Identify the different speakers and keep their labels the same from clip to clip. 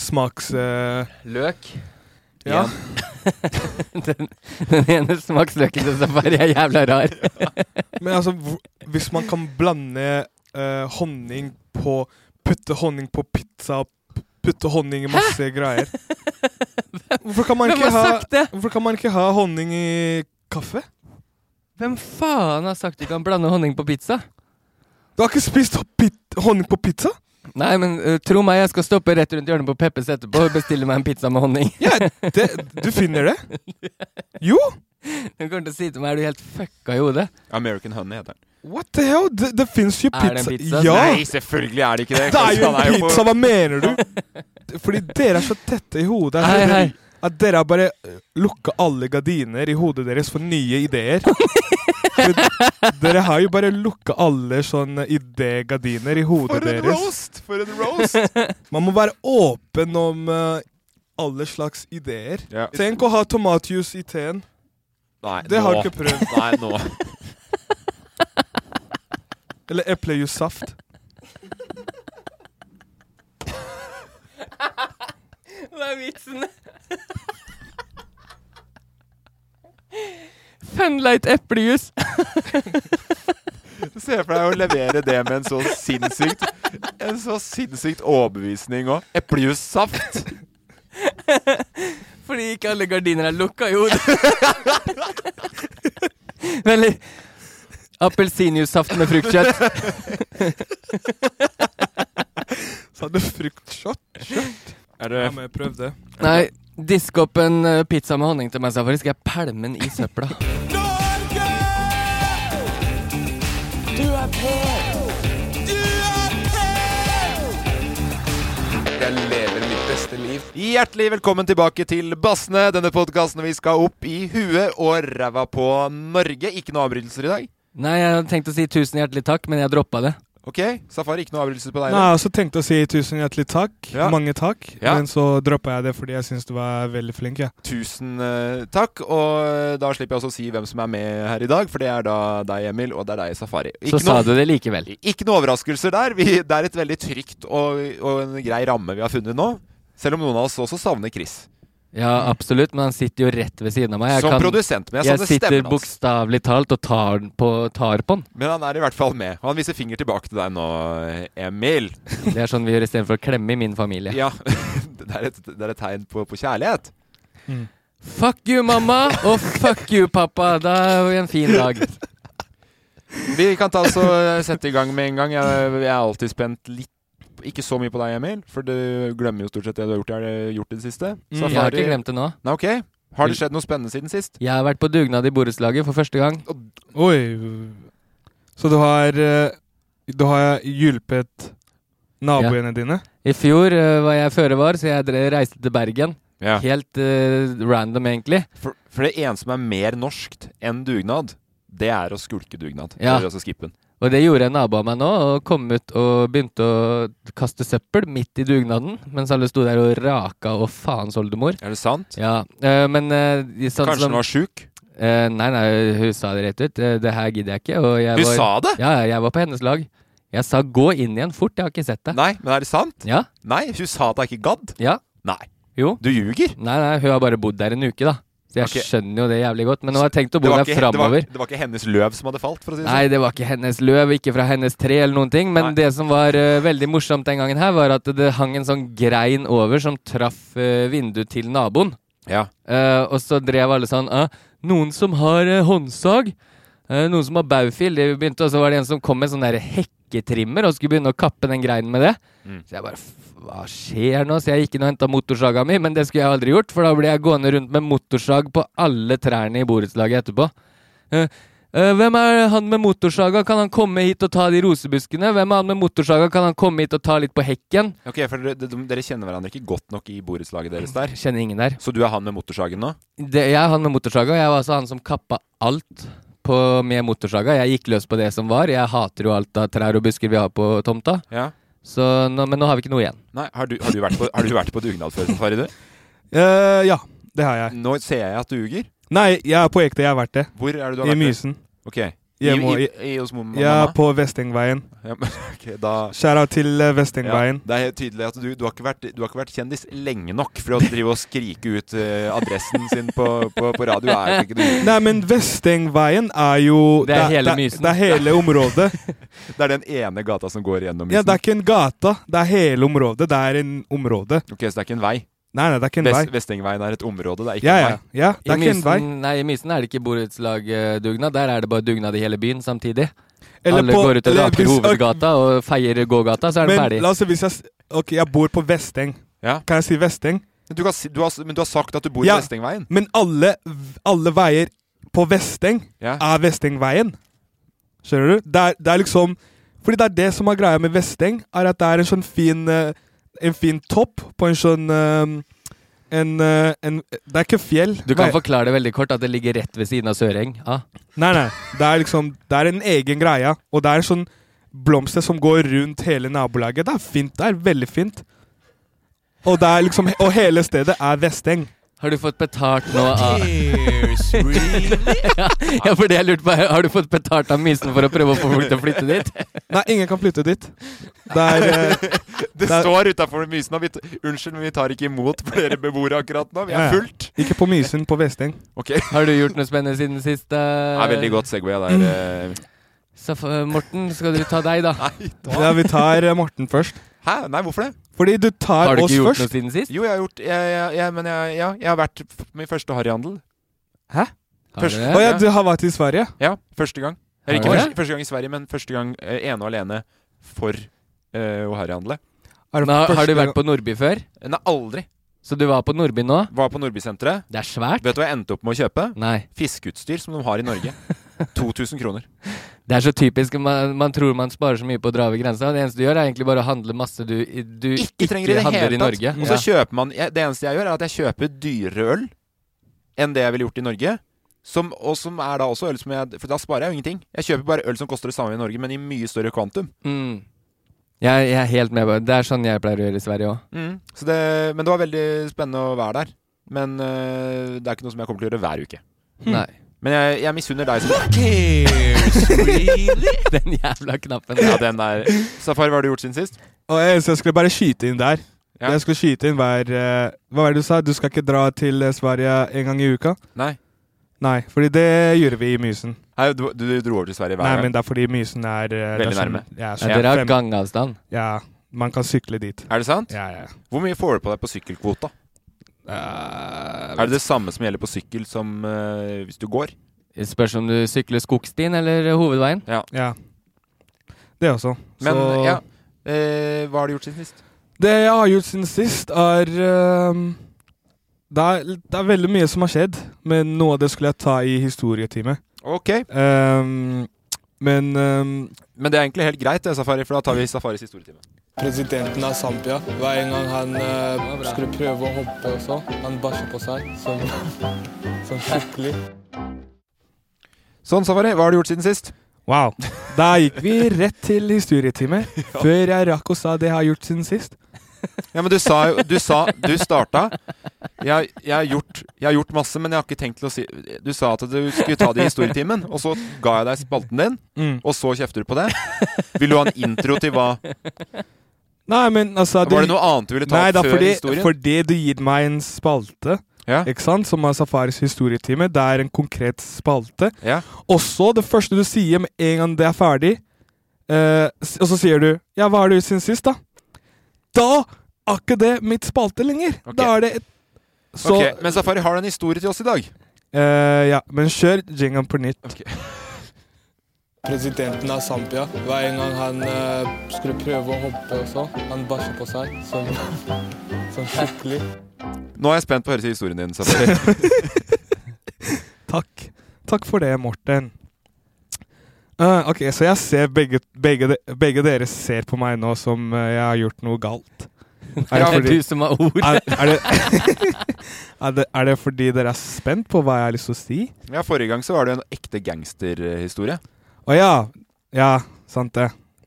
Speaker 1: smaks... eh,
Speaker 2: Løk.
Speaker 1: ja.
Speaker 2: Den, den ene smaksløken til safari er jævla rar.
Speaker 1: Men altså, hvor- hvis man kan blande eh, honning på Putte honning på pizza p- Putte honning i masse greier. Hvorfor kan, man
Speaker 2: Hvem
Speaker 1: ikke
Speaker 2: har
Speaker 1: ha,
Speaker 2: sagt det?
Speaker 1: hvorfor kan man ikke ha honning i kaffe?
Speaker 2: Hvem faen har sagt du kan blande honning på pizza?
Speaker 1: Du har ikke spist pit, honning på pizza?
Speaker 2: Nei, men eh, tro meg, jeg skal stoppe rett rundt hjørnet på Peppes etterpå og bestille meg en pizza med honning.
Speaker 1: Ja, det, du finner det? Jo!
Speaker 2: Hun kommer til å si til meg er du helt fucka i hodet.
Speaker 3: American Honey heter den.
Speaker 1: What the hell? Det, det fins jo
Speaker 2: Er
Speaker 1: pizza.
Speaker 2: det en pizza?
Speaker 1: Ja!
Speaker 3: Nei, selvfølgelig er det ikke det!
Speaker 1: Det er jo
Speaker 3: Han
Speaker 1: en
Speaker 3: på-
Speaker 1: pizza, hva mener du? Fordi dere er så tette i hodet.
Speaker 2: Hei,
Speaker 1: at dere-
Speaker 2: hei.
Speaker 1: At dere har bare eh, lukka alle gardiner i hodet deres for nye ideer. For dere har jo bare lukka alle sånne idégardiner i hodet
Speaker 3: For en
Speaker 1: deres.
Speaker 3: roast! For en roast!
Speaker 1: Man må være åpen om eh, alle slags ideer.
Speaker 3: Ja.
Speaker 1: Tenk å ha tomatjuice i teen.
Speaker 3: Nei,
Speaker 1: Det har
Speaker 3: nå.
Speaker 1: du ikke prøvd.
Speaker 3: Nei, nå.
Speaker 1: Eller eplejuicesaft.
Speaker 2: Hva er vitsen? Funlight eplejus.
Speaker 3: Se for deg å levere det med en så sinnssykt En så sinnssykt overbevisning òg. Eplejussaft!
Speaker 2: Fordi ikke alle gardiner er lukka i hodet. Eller appelsinjuicesaft med fruktkjøtt.
Speaker 1: Så hadde fruktshot.
Speaker 3: Er
Speaker 1: Ja,
Speaker 3: det
Speaker 1: men jeg prøvde.
Speaker 2: Nei, disk opp en eh, pizza med honning til meg, Safari. Skal jeg pælme den i søpla?
Speaker 3: Hjertelig velkommen tilbake til Bassene, denne podkasten vi skal opp i huet og ræva på Norge. Ikke noe avbrytelser i dag.
Speaker 2: Nei, jeg hadde tenkt å si tusen hjertelig takk, men jeg droppa det.
Speaker 3: Ok, Safari, ikke noe avbrytelser på deg?
Speaker 1: Nei, jeg også tenkte å si tusen hjertelig takk.
Speaker 3: Ja.
Speaker 1: Mange takk.
Speaker 3: Ja.
Speaker 1: Men så droppa jeg det fordi jeg syns du var veldig flink. Ja.
Speaker 3: Tusen eh, takk. Og eh, da slipper jeg også å si hvem som er med her i dag, for det er da deg, Emil, og det er deg, Safari.
Speaker 2: Så sa du det likevel.
Speaker 3: Ikke noen overraskelser der. Vi, det er et veldig trygt og, og en grei ramme vi har funnet nå. Selv om noen av oss også savner Chris
Speaker 2: Ja, absolutt, men han sitter jo rett ved siden av meg. Jeg,
Speaker 3: som
Speaker 2: kan,
Speaker 3: produsent. Men jeg,
Speaker 2: jeg
Speaker 3: savner
Speaker 2: sitter
Speaker 3: stemmen hans.
Speaker 2: bokstavelig talt og tar den på, tar på den.
Speaker 3: Men han er i hvert fall med. Og han viser finger tilbake til deg nå, Emil.
Speaker 2: Det er sånn vi gjør istedenfor å klemme i min familie.
Speaker 3: Ja, Det er et, det er et tegn på, på kjærlighet.
Speaker 2: Fuck you, mamma! Og fuck you, pappa! Det er jo en fin dag.
Speaker 3: Vi kan ta oss og eh, sette i gang med en gang. Jeg, jeg er alltid spent litt Ikke så mye på deg, Emil, for du glemmer jo stort sett det du har gjort, er det gjort i det siste.
Speaker 1: Mm.
Speaker 2: Jeg har ikke glemt det nå.
Speaker 3: Nei, ok. Har det skjedd noe spennende siden sist?
Speaker 2: Jeg har vært på dugnad i borettslaget for første gang.
Speaker 1: Oi. Så du har eh, Du har hjulpet naboene dine?
Speaker 2: I fjor eh, var jeg føre var, så jeg dre- reiste til Bergen.
Speaker 3: Ja.
Speaker 2: Helt eh, random, egentlig.
Speaker 3: For, for det ene som er mer norskt enn dugnad, det er å skulke dugnad.
Speaker 2: Ja.
Speaker 3: Eller altså skippe den.
Speaker 2: Og det gjorde en nabo av meg nå, og kom ut og begynte å kaste søppel midt i dugnaden, mens alle sto der og raka og faens oldemor.
Speaker 3: Er det sant?
Speaker 2: Ja, eh, men eh, de- sånn
Speaker 3: Kanskje
Speaker 2: som-
Speaker 3: hun var sjuk?
Speaker 2: Eh, nei, nei, hun sa det rett ut. Eh, det her gidder jeg ikke. Og jeg
Speaker 3: Hun
Speaker 2: var,
Speaker 3: sa det?
Speaker 2: Ja, ja, jeg var på hennes lag. Jeg sa gå inn igjen fort, jeg har ikke sett deg.
Speaker 3: Nei, men er det sant?
Speaker 2: Ja,
Speaker 3: Nei, hun sa at jeg ikke gadd.
Speaker 2: ja,
Speaker 3: Nei,
Speaker 2: jo.
Speaker 3: du ljuger.
Speaker 2: Nei, nei, hun har bare bodd der en uke, da. Så jeg
Speaker 3: Ok.
Speaker 2: skjønner jo det jævlig godt. Men hun har tenkt å
Speaker 3: Det
Speaker 2: bo
Speaker 3: var,
Speaker 2: der
Speaker 3: ikke, det, var,
Speaker 2: framover.
Speaker 3: det var ikke hennes løv som hadde falt, for å si det
Speaker 2: Nei,
Speaker 3: sånn.
Speaker 2: det var ikke hennes løv, ikke fra hennes tre eller noen ting. Men
Speaker 3: Nei.
Speaker 2: det som var eh, veldig morsomt den gangen her, var at det hang en sånn grein over som traff eh, vinduet til naboen.
Speaker 3: sånn. Ja.
Speaker 2: Eh, og så drev alle sånn «Ah, Noen som har eh, håndsag? Eh, noen som har baufil? Det begynte, og så var det en som kom med sånn der hekketrimmer og skulle begynne å kappe den greinen med det. Så jeg bare "F- Hva skjer nå? Så jeg gikk inn og henta motorsaga mi, men det skulle jeg aldri gjort, for da ble jeg gående rundt med motorsag på alle trærne i borettslaget etterpå. Eh, eh, hvem er han med motorsaga? Kan han komme hit og ta de rosebuskene? Hvem er han med motorsaga? Kan han komme hit og ta litt på hekken?
Speaker 3: Ok, for dere, de- dere kjenner hverandre ikke godt nok i borettslaget deres der.
Speaker 2: Jeg kjenner ingen der.
Speaker 3: Så du er han med motorsagen nå?
Speaker 2: det, jeg er han med motorsaga. Jeg var altså han som kappa alt på, med motorsaga. Jeg gikk løs på det som var. Jeg hater jo alt av trær og busker vi har på tomta.
Speaker 3: Ja.
Speaker 2: Så nå, men nå har vi ikke noe igjen.
Speaker 3: Nei, har du, har du, vært, på, har du vært på dugnad før, Safari? Du?
Speaker 1: Eh, ja, det har jeg.
Speaker 3: Nå ser jeg at du ljuger.
Speaker 1: Nei, jeg er på ekte. Jeg har vært det.
Speaker 3: Hvor er det du har
Speaker 1: I
Speaker 3: vært?
Speaker 1: Mysen.
Speaker 3: Ok. I,
Speaker 1: Hjemme og
Speaker 3: i,
Speaker 1: i
Speaker 3: i, hos mamma?
Speaker 1: Ja, på Vestengveien.
Speaker 3: Ja, men, ok, da...
Speaker 1: Skjæra til eh, Vestengveien.
Speaker 3: det er helt tydelig at du, du, har ikke vært, du har ikke vært kjendis lenge nok for å drive og skrike ut eh, adressen sin på, på, på radio. Er det, ikke du?
Speaker 1: Nei, men Vestengveien er jo
Speaker 2: Det er hele Mysen.
Speaker 1: Det er hele området.
Speaker 3: det er den ene gata som går gjennom
Speaker 1: Ja,
Speaker 3: Mysen.
Speaker 1: det er ikke en gata. Det er hele området. Det er en område.
Speaker 3: Ok, så det er ikke en vei.
Speaker 1: Nei, nei, det er ikke en vei.
Speaker 3: Vest, Vestengveien er et område, det er ikke
Speaker 1: Ja,
Speaker 3: en
Speaker 1: ja.
Speaker 3: vei.
Speaker 1: ja
Speaker 2: I
Speaker 1: det er ikke en vei.
Speaker 2: Mysen, nei, I Mysen er det ikke borettslagdugnad. Der er det bare dugnad i hele byen samtidig. Alle
Speaker 1: på-
Speaker 2: går ut og
Speaker 1: eller
Speaker 2: raker
Speaker 1: hvis-
Speaker 2: hovedgata og feier gågata, så er den
Speaker 1: Men
Speaker 2: ferdig.
Speaker 1: la oss si hvis jeg s- Ok, jeg bor på Vesteng.
Speaker 3: Ja.
Speaker 1: Kan jeg si Vesteng?
Speaker 3: Men Du kan, si- du har, s- men du har sagt at du bor
Speaker 1: Ja.
Speaker 3: i Vestengveien?
Speaker 1: Men alle, v- alle veier på Vesteng
Speaker 3: Ja.
Speaker 1: er Vestengveien. Skjønner du? Det er, det er liksom Fordi det er det som er greia med Vesteng, er at det er en sånn fin eh, En fin topp på en sånn eh, en, eh, en Det er ikke fjell.
Speaker 2: Du kan
Speaker 1: Vei-
Speaker 2: forklare det veldig kort, at det ligger rett ved siden av Søreng. Ja.
Speaker 1: Nei, nei. Det er liksom Det er en egen greie. Og det er sånn blomster som går rundt hele nabolaget. Det er fint. Det er veldig fint. Og det er liksom Og hele stedet er Vesteng.
Speaker 2: Har du fått betalt nå av Ja, for det jeg lurte på, er, har du fått betalt av Mysen for å prøve å få folk til å flytte dit?
Speaker 1: Nei, ingen kan flytte dit. Det er eh,
Speaker 3: Det
Speaker 1: Der-
Speaker 3: står utafor Mysen, og vi, t- unnskyld, men vi tar ikke imot flere beboere akkurat nå. Vi
Speaker 1: Ja,
Speaker 3: er
Speaker 1: ja.
Speaker 3: fullt.
Speaker 1: Ikke på Mysen, på Vesteng.
Speaker 3: Ok, det
Speaker 2: Har du gjort noe spennende siden sist? eh?
Speaker 3: er veldig godt Segway der.
Speaker 1: Mm.
Speaker 3: eh.
Speaker 2: Så, eh, Morten, skal du ta deg, da?
Speaker 3: Nei, da.
Speaker 1: Ja, vi tar eh, Morten først.
Speaker 3: Hæ? Nei, hvorfor det?
Speaker 1: Fordi du tar
Speaker 2: Har du
Speaker 1: oss
Speaker 2: ikke gjort noe
Speaker 1: først.
Speaker 2: siden sist?
Speaker 3: Jo, jeg har gjort jeg, jeg, jeg, men jeg, ja, jeg har vært f- min første harryhandel.
Speaker 2: Har du
Speaker 3: Først-
Speaker 2: det?
Speaker 1: Å ja, du har vært i Sverige?
Speaker 3: Ja, første gang. Eller ikke
Speaker 2: Har du
Speaker 3: første, første gang i Sverige, men første gang eh, ene og alene for eh, å harryhandle.
Speaker 1: Er det
Speaker 2: Men har, har
Speaker 1: første
Speaker 2: du vært
Speaker 1: gang-
Speaker 2: på Nordby før?
Speaker 3: Nei, aldri.
Speaker 2: Så du var på Nordby nå?
Speaker 3: Var på Nordbysenteret.
Speaker 2: Det er svært.
Speaker 3: Vet du hva jeg endte opp med å kjøpe?
Speaker 2: Nei.
Speaker 3: Fiskeutstyr som de har i Norge. 2000 kroner.
Speaker 2: Det er så typisk. Man, man tror man sparer så mye på å dra over grensa. Det eneste du gjør, er egentlig bare å handle masse du, du
Speaker 3: Ikke trenger i det hele
Speaker 2: handler
Speaker 3: tatt.
Speaker 2: i Norge.
Speaker 3: Og så kjøper man jeg- Det eneste jeg gjør, er at jeg kjøper dyrere øl enn det jeg ville gjort i Norge. Som, og som er da også øl som jeg For da sparer jeg jo ingenting. Jeg kjøper bare øl som koster det samme i Norge, men i mye større kvantum.
Speaker 2: Mm. Jeg, jeg er helt med på det. Det er sånn jeg pleier å gjøre i Sverige òg.
Speaker 3: Så det, men det var veldig spennende å være der. Men øh, det er ikke noe som jeg kommer til å gjøre hver uke.
Speaker 2: Nei.
Speaker 3: Men jeg, jeg misunner deg som
Speaker 2: Den jævla knappen.
Speaker 3: Ja, den der. Safari, hva har du gjort siden sist?
Speaker 1: Og jeg, så jeg skulle bare skyte inn der.
Speaker 3: Ja.
Speaker 1: Jeg skulle skyte inn hver eh, Hva var det du sa? Du skal ikke dra til eh, Sverige en gang i uka?
Speaker 3: Nei.
Speaker 1: Nei, fordi det gjorde vi i Mysen.
Speaker 3: Hei, du, du dro over til Sverige hver
Speaker 1: Nei,
Speaker 3: gang.
Speaker 1: men det er fordi Mysen er eh, det er
Speaker 3: Veldig
Speaker 1: sånn-
Speaker 3: nærme.
Speaker 1: Ja,
Speaker 2: Ja,
Speaker 1: sånn
Speaker 2: dere har
Speaker 1: fem-
Speaker 2: gangavstand.
Speaker 1: ja, man kan sykle dit.
Speaker 3: Er det sant?
Speaker 1: Ja, ja.
Speaker 3: Hvor mye får du på deg på sykkelkvota?
Speaker 1: Eh,
Speaker 3: Er det det samme som gjelder på sykkel som øh, hvis du går?
Speaker 2: Det Spørs om du sykler skogstien eller hovedveien.
Speaker 1: ja. Det også.
Speaker 3: Men
Speaker 1: Så
Speaker 3: ja, eh, hva har du gjort siden sist?
Speaker 1: Det jeg har gjort siden sist, er ehm, det, er det er veldig mye som har skjedd, men noe av det skulle jeg ta i historietime.
Speaker 3: Ok,
Speaker 1: Ehm, men ehm,
Speaker 3: men det er egentlig helt greit, det, Safari, for da tar vi Safaris historietime.
Speaker 4: Presidenten av Zambia, hver en gang han eh, skulle prøve å hoppe og så, han bæsja på seg som, som skikkelig.
Speaker 3: Sånn, Safari, hva har du gjort siden sist?
Speaker 1: Wow. Da gikk vi rett til historietime før jeg rakk å sa det jeg har gjort siden sist.
Speaker 3: Ja, men du sa jo Du sa Du starta. Jeg, jeg, har gjort, jeg har gjort masse, men jeg har ikke tenkt til å si Du sa at du skulle ta det i historietimen, og så ga jeg deg spalten din,
Speaker 1: Mm.
Speaker 3: og så kjefter du på det. Vil du ha en intro til hva
Speaker 1: Nei, men altså du-
Speaker 3: Var det noe annet du ville ta
Speaker 1: Nei, da,
Speaker 3: opp før
Speaker 1: fordi,
Speaker 3: historien?
Speaker 1: fordi du gitt meg en spalte,
Speaker 3: Ja,
Speaker 1: ikke sant, som er Safaris historietime. Det er en konkret spalte.
Speaker 3: ja.
Speaker 1: Også det første du sier med en gang det er ferdig, eh, s- og så sier du 'ja, hva har du gjort siden sist', da? Da er ikke det mitt spalte lenger!
Speaker 3: Ok.
Speaker 1: Da er det et Så
Speaker 3: Ok, Men Safari har du en historie til oss i dag.
Speaker 1: eh, Ja, men kjør jingaen på nytt.
Speaker 4: Presidenten av Zambia, hver en gang han eh, skulle prøve å hoppe og så, han bæsja på seg som, som skikkelig.
Speaker 3: Nå er jeg spent på å høre til historien din, Safari.
Speaker 1: Takk. Takk for det, Morten. Eh, ok, så jeg ser begge, begge, de, begge dere ser på meg nå som eh, jeg har gjort noe galt.
Speaker 2: Er
Speaker 1: det
Speaker 2: det
Speaker 1: fordi-
Speaker 2: du som har ordet?
Speaker 1: Er, er, det, er, det, er det fordi dere er spent på hva jeg har lyst til å si?
Speaker 3: Ja, Forrige gang så var det en ekte gangsterhistorie.
Speaker 1: Å ja. Ja, sant det.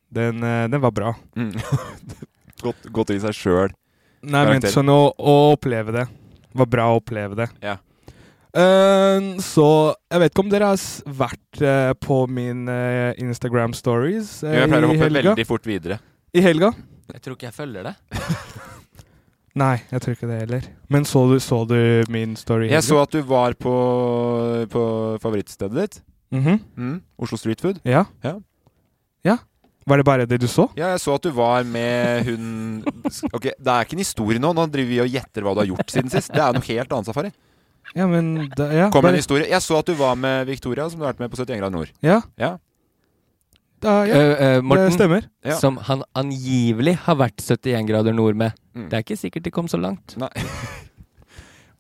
Speaker 1: Den, eh, den var bra.
Speaker 3: Mm. Godt, godt i seg sjøl.
Speaker 1: Nei, men
Speaker 3: Karakter.
Speaker 1: sånn å, å oppleve det. Det var bra å oppleve det.
Speaker 3: Ja.
Speaker 1: Eh, så jeg vet ikke om dere har s- vært eh, på min eh, Instagram stories eh,
Speaker 3: Jeg pleier å
Speaker 1: i
Speaker 3: hoppe
Speaker 1: helga.
Speaker 3: veldig fort videre.
Speaker 1: I helga?
Speaker 2: Jeg tror ikke jeg følger det.
Speaker 1: Nei, jeg tror ikke det heller. Men så du, så du min story? i
Speaker 3: Jeg
Speaker 1: helga?
Speaker 3: så at du var på, på favorittstedet ditt.
Speaker 1: Mhm.
Speaker 3: Mm. Oslo Street Food.
Speaker 1: Ja.
Speaker 3: Ja.
Speaker 1: Ja? Var det bare det du så?
Speaker 3: Ja, jeg så at du var med hun Ok, det er ikke en historie nå. Nå driver vi og gjetter hva du har gjort siden sist. Det er noe helt annet safari.
Speaker 1: Ja, men da, ja,
Speaker 3: Kom med en
Speaker 1: bare,
Speaker 3: historie. Jeg så at du var med Victoria, som du har vært med på 71 grader nord.
Speaker 1: ja.
Speaker 3: Ja.
Speaker 1: Da, ja.
Speaker 2: Eh, eh,
Speaker 1: det
Speaker 2: Morten,
Speaker 1: stemmer.
Speaker 3: Ja.
Speaker 2: som han angivelig har vært 71 grader nord med.
Speaker 3: Mm.
Speaker 2: Det er ikke sikkert de kom så langt.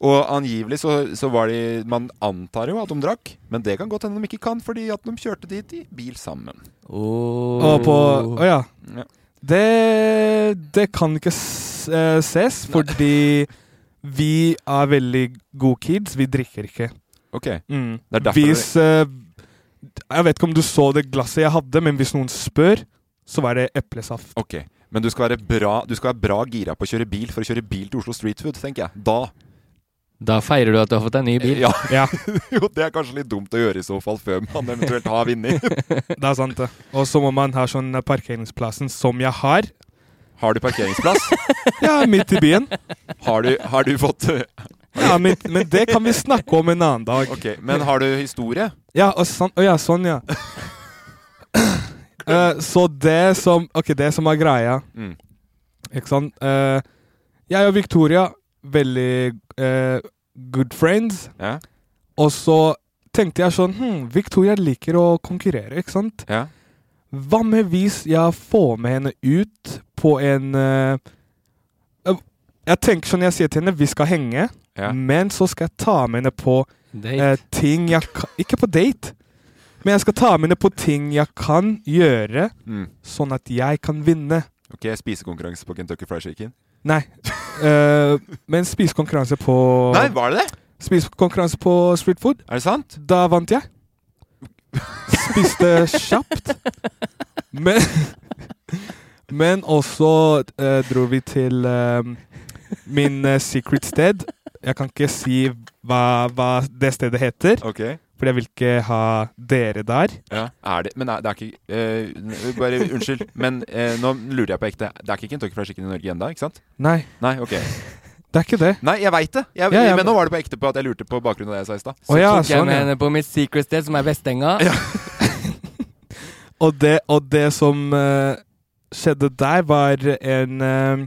Speaker 3: Og angivelig så, så var de Man antar jo at de drakk, men det kan godt hende de ikke kan, fordi at de kjørte dit i bil sammen.
Speaker 2: Oh.
Speaker 1: Og på Å ja.
Speaker 3: Ja.
Speaker 1: Det, det kan ikke s eh, ses, fordi vi er veldig gode kids. Vi drikker ikke.
Speaker 3: Ok.
Speaker 1: Mm.
Speaker 3: Det er derfor
Speaker 1: Hvis eh, Jeg vet ikke om du så det glasset jeg hadde, men hvis noen spør, så var det eplesaft.
Speaker 3: Ok. Men du skal, være bra, du skal være bra gira på å kjøre bil for å kjøre bil til Oslo Street Food, tenker jeg. Da.
Speaker 2: Da feirer du at du har fått deg ny bil.
Speaker 3: Ja,
Speaker 1: Ja,
Speaker 3: jo, det er kanskje litt dumt å gjøre i så fall, før man eventuelt har vunnet.
Speaker 1: det er sant, det. Og så må man ha sånn eh, parkeringsplassen som jeg har.
Speaker 3: Har du parkeringsplass?
Speaker 1: Ja, midt i byen.
Speaker 3: Har du, har du fått
Speaker 1: Ja, men, men det kan vi snakke om en annen dag.
Speaker 3: Ok, men har du historie?
Speaker 1: Ja, og sånn, å ja, sånn, ja. Eh, så det som Ok, det som er greia,
Speaker 3: Mm.
Speaker 1: ikke sant Eh, Jeg og Victoria, veldig eh, good friends.
Speaker 3: Ja.
Speaker 1: Og så tenkte jeg sånn hm, Victoria liker å konkurrere, ikke sant?
Speaker 3: ja.
Speaker 1: Hva med hvis jeg får med henne ut på en eh, eh, Jeg tenker sånn, jeg sier til henne vi skal henge,
Speaker 3: Ja.
Speaker 1: men så skal jeg ta med henne på
Speaker 2: Date.
Speaker 1: eh, ting jeg kan Ikke på date, men jeg skal ta med henne på ting jeg kan gjøre,
Speaker 3: Mm.
Speaker 1: sånn at jeg kan vinne.
Speaker 3: Ok, spisekonkurranse på Kentucky Fried Chicken.
Speaker 1: Nei. Eh, men spisekonkurranse på
Speaker 3: Nei, var det det?
Speaker 1: Spisekonkurranse på street food.
Speaker 3: Er det sant?
Speaker 1: Da vant jeg. Spiste kjapt. Men Men også eh, dro vi til eh, min eh, secret sted. Jeg kan ikke si hva, hva det stedet heter,
Speaker 3: Ok.
Speaker 1: for jeg vil ikke ha dere der.
Speaker 3: Ja. Er det Men er, det er ikke eh, n- Bare unnskyld, men eh, nå lurer jeg på ekte. Det er ikke Kentucky Fried Chicken i Norge ennå, ikke sant?
Speaker 1: Nei,
Speaker 3: Nei, ok.
Speaker 1: det er ikke det.
Speaker 3: Nei, jeg veit det. Jeg,
Speaker 1: Ja, ja,
Speaker 3: men
Speaker 1: men-
Speaker 3: nå var det på ekte på at jeg lurte på bakgrunn av det jeg sa i stad.
Speaker 1: Å ja,
Speaker 2: Tok jeg
Speaker 1: sånn,
Speaker 2: med
Speaker 1: ja.
Speaker 2: henne på mitt secret sted, som er Vestenga.
Speaker 1: Og det, og det som eh, skjedde der, var en eh,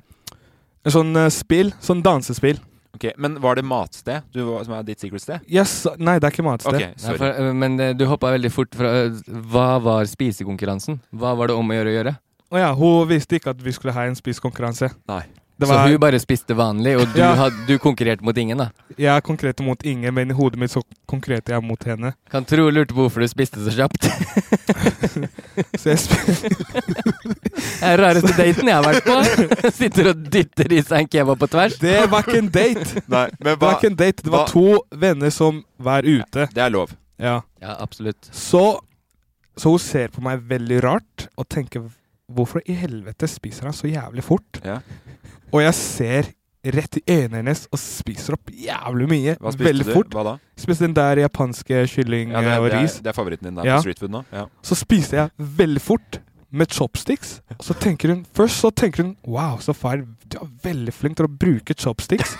Speaker 1: en sånn eh, spill, sånn dansespill.
Speaker 3: Ok, Men var det matsted du, var- som er ditt secret sted?
Speaker 1: Yes, nei, det er ikke matsted.
Speaker 3: Ok,
Speaker 2: Nei,
Speaker 3: sorry.
Speaker 2: for, øh, men øh, du hoppa veldig fort fra øh, Hva var spisekonkurransen? Hva var det om å gjøre å gjøre?
Speaker 1: Å ja, hun visste ikke at vi skulle ha en spisekonkurranse.
Speaker 3: Nei.
Speaker 1: Det
Speaker 2: Så
Speaker 1: var,
Speaker 2: hun bare spiste vanlig, og du,
Speaker 1: Ja.
Speaker 2: had, du konkurrerte mot ingen, da.
Speaker 1: Jeg konkurrerte mot ingen, men i hodet mitt så konkurrerte jeg mot henne.
Speaker 2: Kan tro hun lurte på hvorfor du spiste så kjapt. Det
Speaker 1: Så jeg sp
Speaker 2: er den rareste daten jeg har vært på. Sitter og dytter i seg en kebab på tvers.
Speaker 1: det var ikke en date!
Speaker 3: Nei, men
Speaker 1: Det var ikke en date, det var
Speaker 3: hva-
Speaker 1: to venner som var ute.
Speaker 3: Det er lov.
Speaker 1: Ja.
Speaker 2: Ja, absolutt.
Speaker 1: Så Så hun ser på meg veldig rart og tenker Hvorfor i helvete spiser han så jævlig fort?
Speaker 3: Ja.
Speaker 1: Og jeg ser rett i øynene hennes og spiser opp jævlig mye.
Speaker 3: Hva spiste
Speaker 1: veldig
Speaker 3: du?
Speaker 1: fort.
Speaker 3: Hva da?
Speaker 1: Spiste den der japanske kylling eh,
Speaker 3: Ja, det,
Speaker 1: og
Speaker 3: er, det,
Speaker 1: ris.
Speaker 3: er, det er favoritten din der
Speaker 1: Ja.
Speaker 3: på street food nå? Ja.
Speaker 1: Så spiste jeg veldig fort med chopsticks. Og så tenker hun, først så tenker hun Wow, så far, du er veldig flink til å bruke chopsticks.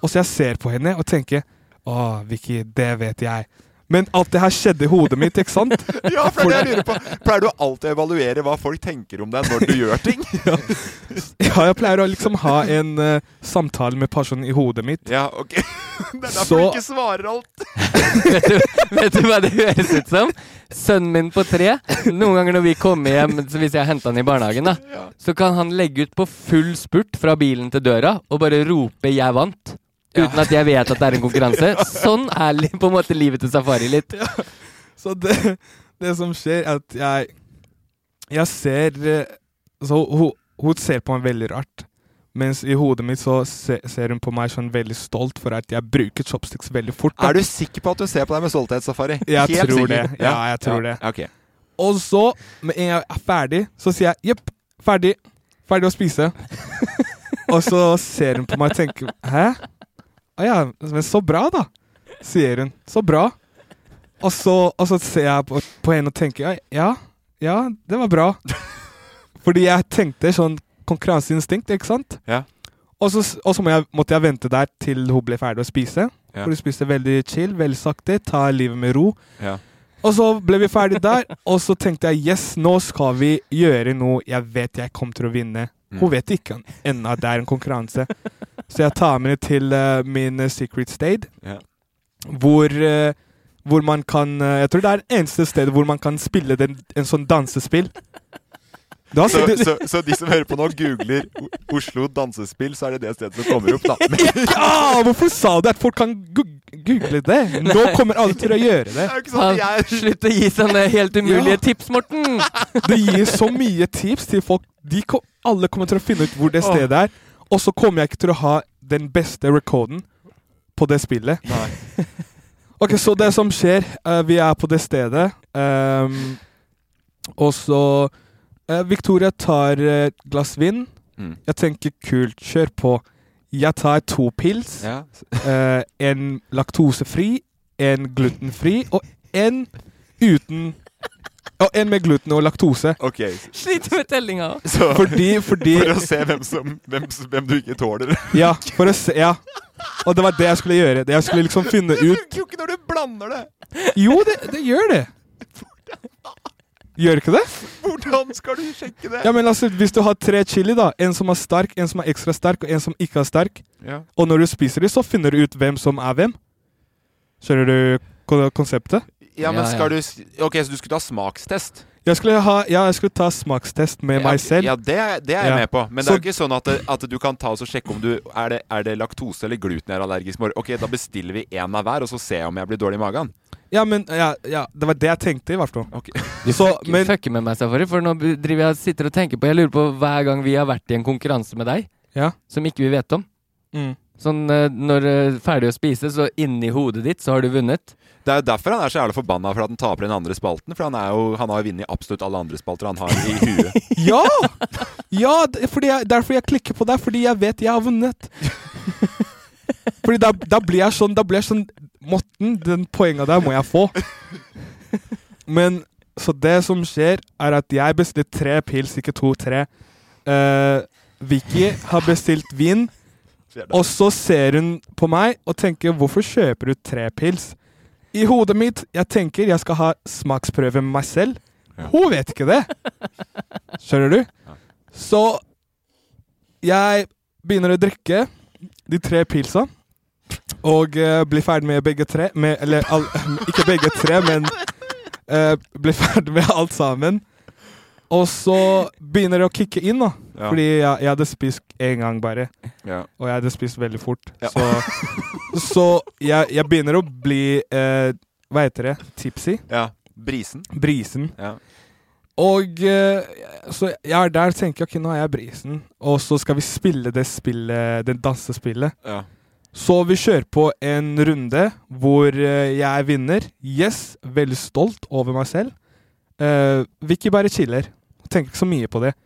Speaker 1: og så jeg ser på henne og tenker Å, Vicky, det vet jeg. Men alt det her skjedde i hodet mitt, ikke sant?
Speaker 3: Ja, for det jeg lurer på Pleier du alltid å evaluere hva folk tenker om deg når du gjør ting?
Speaker 1: Ja, jeg pleier å liksom ha en eh, samtale med personen i hodet mitt.
Speaker 3: Ja, ok Det er derfor
Speaker 1: Så-
Speaker 3: du ikke svarer alt.
Speaker 2: Vet du, vet du hva det høres ut som? Sønnen min på tre. Noen ganger når vi kommer hjem, så hvis jeg henter han i barnehagen, da, så kan han legge ut på full spurt fra bilen til døra og bare rope 'jeg vant'. Uten at jeg vet at det er en konkurranse. Sånn er li- på en måte livet til Safari litt.
Speaker 1: Så det, det som skjer, er at jeg Jeg ser eh, Så hun, hun ser på meg veldig rart. Mens i hodet mitt så se, ser hun på meg sånn veldig stolt for at jeg bruker chopsticks veldig fort. da.
Speaker 3: Er du sikker på at hun ser på deg med stolthet, Safari?
Speaker 1: Jeg
Speaker 3: Helt
Speaker 1: tror
Speaker 3: sikker?
Speaker 1: det. Ja, jeg tror det.
Speaker 3: Ok.
Speaker 1: Og så, med en gang jeg er ferdig, så sier jeg jepp, ferdig. Ferdig å spise. og så ser hun på meg og tenker hæ? Å ja, men så bra, da. Sier hun. Så bra. Og så, og så ser jeg på, på henne og tenker «Ja, ja, ja, det var bra. Fordi jeg tenkte sånn konkurranseinstinkt, ikke sant?
Speaker 3: Ja.
Speaker 1: Og så, s- og så må jeg, måtte jeg vente der til hun ble ferdig å spise.
Speaker 3: Ja.
Speaker 1: For hun spiste veldig chill, veldig sakte, ta livet med ro.
Speaker 3: Ja.
Speaker 1: Og så ble vi ferdig der, og så tenkte jeg yes, nå skal vi gjøre noe jeg vet jeg kommer til å vinne.
Speaker 3: Mm.
Speaker 1: Hun vet ikke ennå at det er en konkurranse. Så jeg tar med henne til eh, min eh, secret state,
Speaker 3: Ja.
Speaker 1: hvor, eh, hvor man kan eh, Jeg tror det er det eneste stedet hvor man kan spille den, en sånn dansespill. Du har
Speaker 3: Så,
Speaker 1: sett det?
Speaker 3: så, så de som hører på nå, googler O- Oslo dansespill, så er det det stedet som kommer opp, da. Men,
Speaker 1: Ja! Hvorfor sa du at folk kan gu- google det? Nå kommer alle til å gjøre det.
Speaker 3: det er jo ikke sånn
Speaker 2: Han,
Speaker 3: at jeg
Speaker 2: slutt å gi sånne helt
Speaker 1: Ja.
Speaker 2: umulige tips, Morten!
Speaker 1: Det gir så mye tips til folk. De kom, alle kommer til å finne ut hvor det stedet er. Og så kommer jeg ikke til å ha den beste recorden på det spillet.
Speaker 3: Nei.
Speaker 1: Ok, Så det som skjer eh, Vi er på det stedet. ehm, og så eh, Victoria tar eh, et glass vin.
Speaker 3: Mm.
Speaker 1: Jeg tenker kult, kjør på. Jeg tar to pils.
Speaker 3: ja.
Speaker 1: eh, en laktosefri, en glutenfri og en uten Og en med gluten og laktose.
Speaker 3: Ok,
Speaker 2: Sliter med tellinga.
Speaker 3: så
Speaker 1: Fordi, fordi
Speaker 3: For å se hvem, som, hvem, s- hvem du ikke tåler.
Speaker 1: Ja, for å se Ja. Og det var det jeg skulle gjøre. Det jeg skulle liksom finne
Speaker 3: Det
Speaker 1: ut
Speaker 3: funker jo ikke når du blander det!
Speaker 1: Jo, det, det gjør det. Gjør ikke det?
Speaker 3: Hvordan skal du sjekke det?
Speaker 1: Ja, men altså, Hvis du har tre chili, da en som er sterk, en som er ekstra sterk, og en som ikke er sterk,
Speaker 3: Ja.
Speaker 1: og når du spiser dem, så finner du ut hvem som er hvem. Skjønner du ko- konseptet?
Speaker 3: Ja, men
Speaker 2: Ja, ja.
Speaker 3: skal du s- Ok, så du skulle ta smakstest?
Speaker 1: Jeg skulle, ha, ja, jeg skulle ta smakstest med meg selv.
Speaker 3: Ja, det er, det er jeg
Speaker 1: Ja.
Speaker 3: med på. Men det
Speaker 1: Så-
Speaker 3: er jo ikke sånn at, det, at du kan ta oss og sjekke om du Er det, er det laktose eller gluten jeg er allergisk mot? Ok, da bestiller vi én av hver, og så ser jeg om jeg blir dårlig i magen.
Speaker 1: Ja, men ja, ja, Det var det jeg tenkte, i hvert fall.
Speaker 3: Ok.
Speaker 1: Så, men
Speaker 2: Fucker med meg, Safari, for nå driver jeg og sitter og tenker på Jeg lurer på hver gang vi har vært i en konkurranse med deg,
Speaker 1: Ja.
Speaker 2: som ikke vi vet om.
Speaker 1: mm,
Speaker 2: Sånn eh, når eh, ferdig å spise, så inni hodet ditt så har du vunnet.
Speaker 3: Det er jo derfor han er så jævla forbanna for at han taper den andre spalten. For han, er jo, han har jo vunnet absolutt alle andre spalter han har i huet.
Speaker 1: Ja! Ja, det- fordi jeg, derfor jeg klikker på deg, fordi jeg vet jeg har vunnet. Fordi da, da blir jeg sånn, da blir jeg sånn Morten, den poenga der må jeg få. Men så det som skjer, er at jeg bestiller tre pils, ikke to-tre. Eh, Vicky har bestilt vin, og så ser hun på meg og tenker 'hvorfor kjøper du tre pils'? I hodet mitt jeg tenker jeg skal ha smaksprøve med meg selv. Hun vet ikke det! Skjønner du? Så jeg begynner å drikke de tre pilsa. Og eh, blir ferdig med begge tre med, Eller all, ikke begge tre, men eh, blir ferdig med alt sammen. Og så begynner det å kicke inn, da.
Speaker 3: Ja.
Speaker 1: Fordi jeg, jeg hadde spist én gang bare.
Speaker 3: Ja.
Speaker 1: Og jeg hadde spist veldig fort.
Speaker 3: Ja.
Speaker 1: Så, så jeg, jeg begynner å bli eh, Hva heter det? Tipsy?
Speaker 3: ja. Brisen.
Speaker 1: Brisen.
Speaker 3: Ja.
Speaker 1: Og eh, så jeg er der og tenker ok, nå er jeg brisen, og så skal vi spille det spillet, det dansespillet.
Speaker 3: ja.
Speaker 1: Så vi kjører på en runde hvor eh, jeg vinner. Yes, veldig stolt over meg selv. eh, Vicky bare chiller. Tenker ikke så mye på det.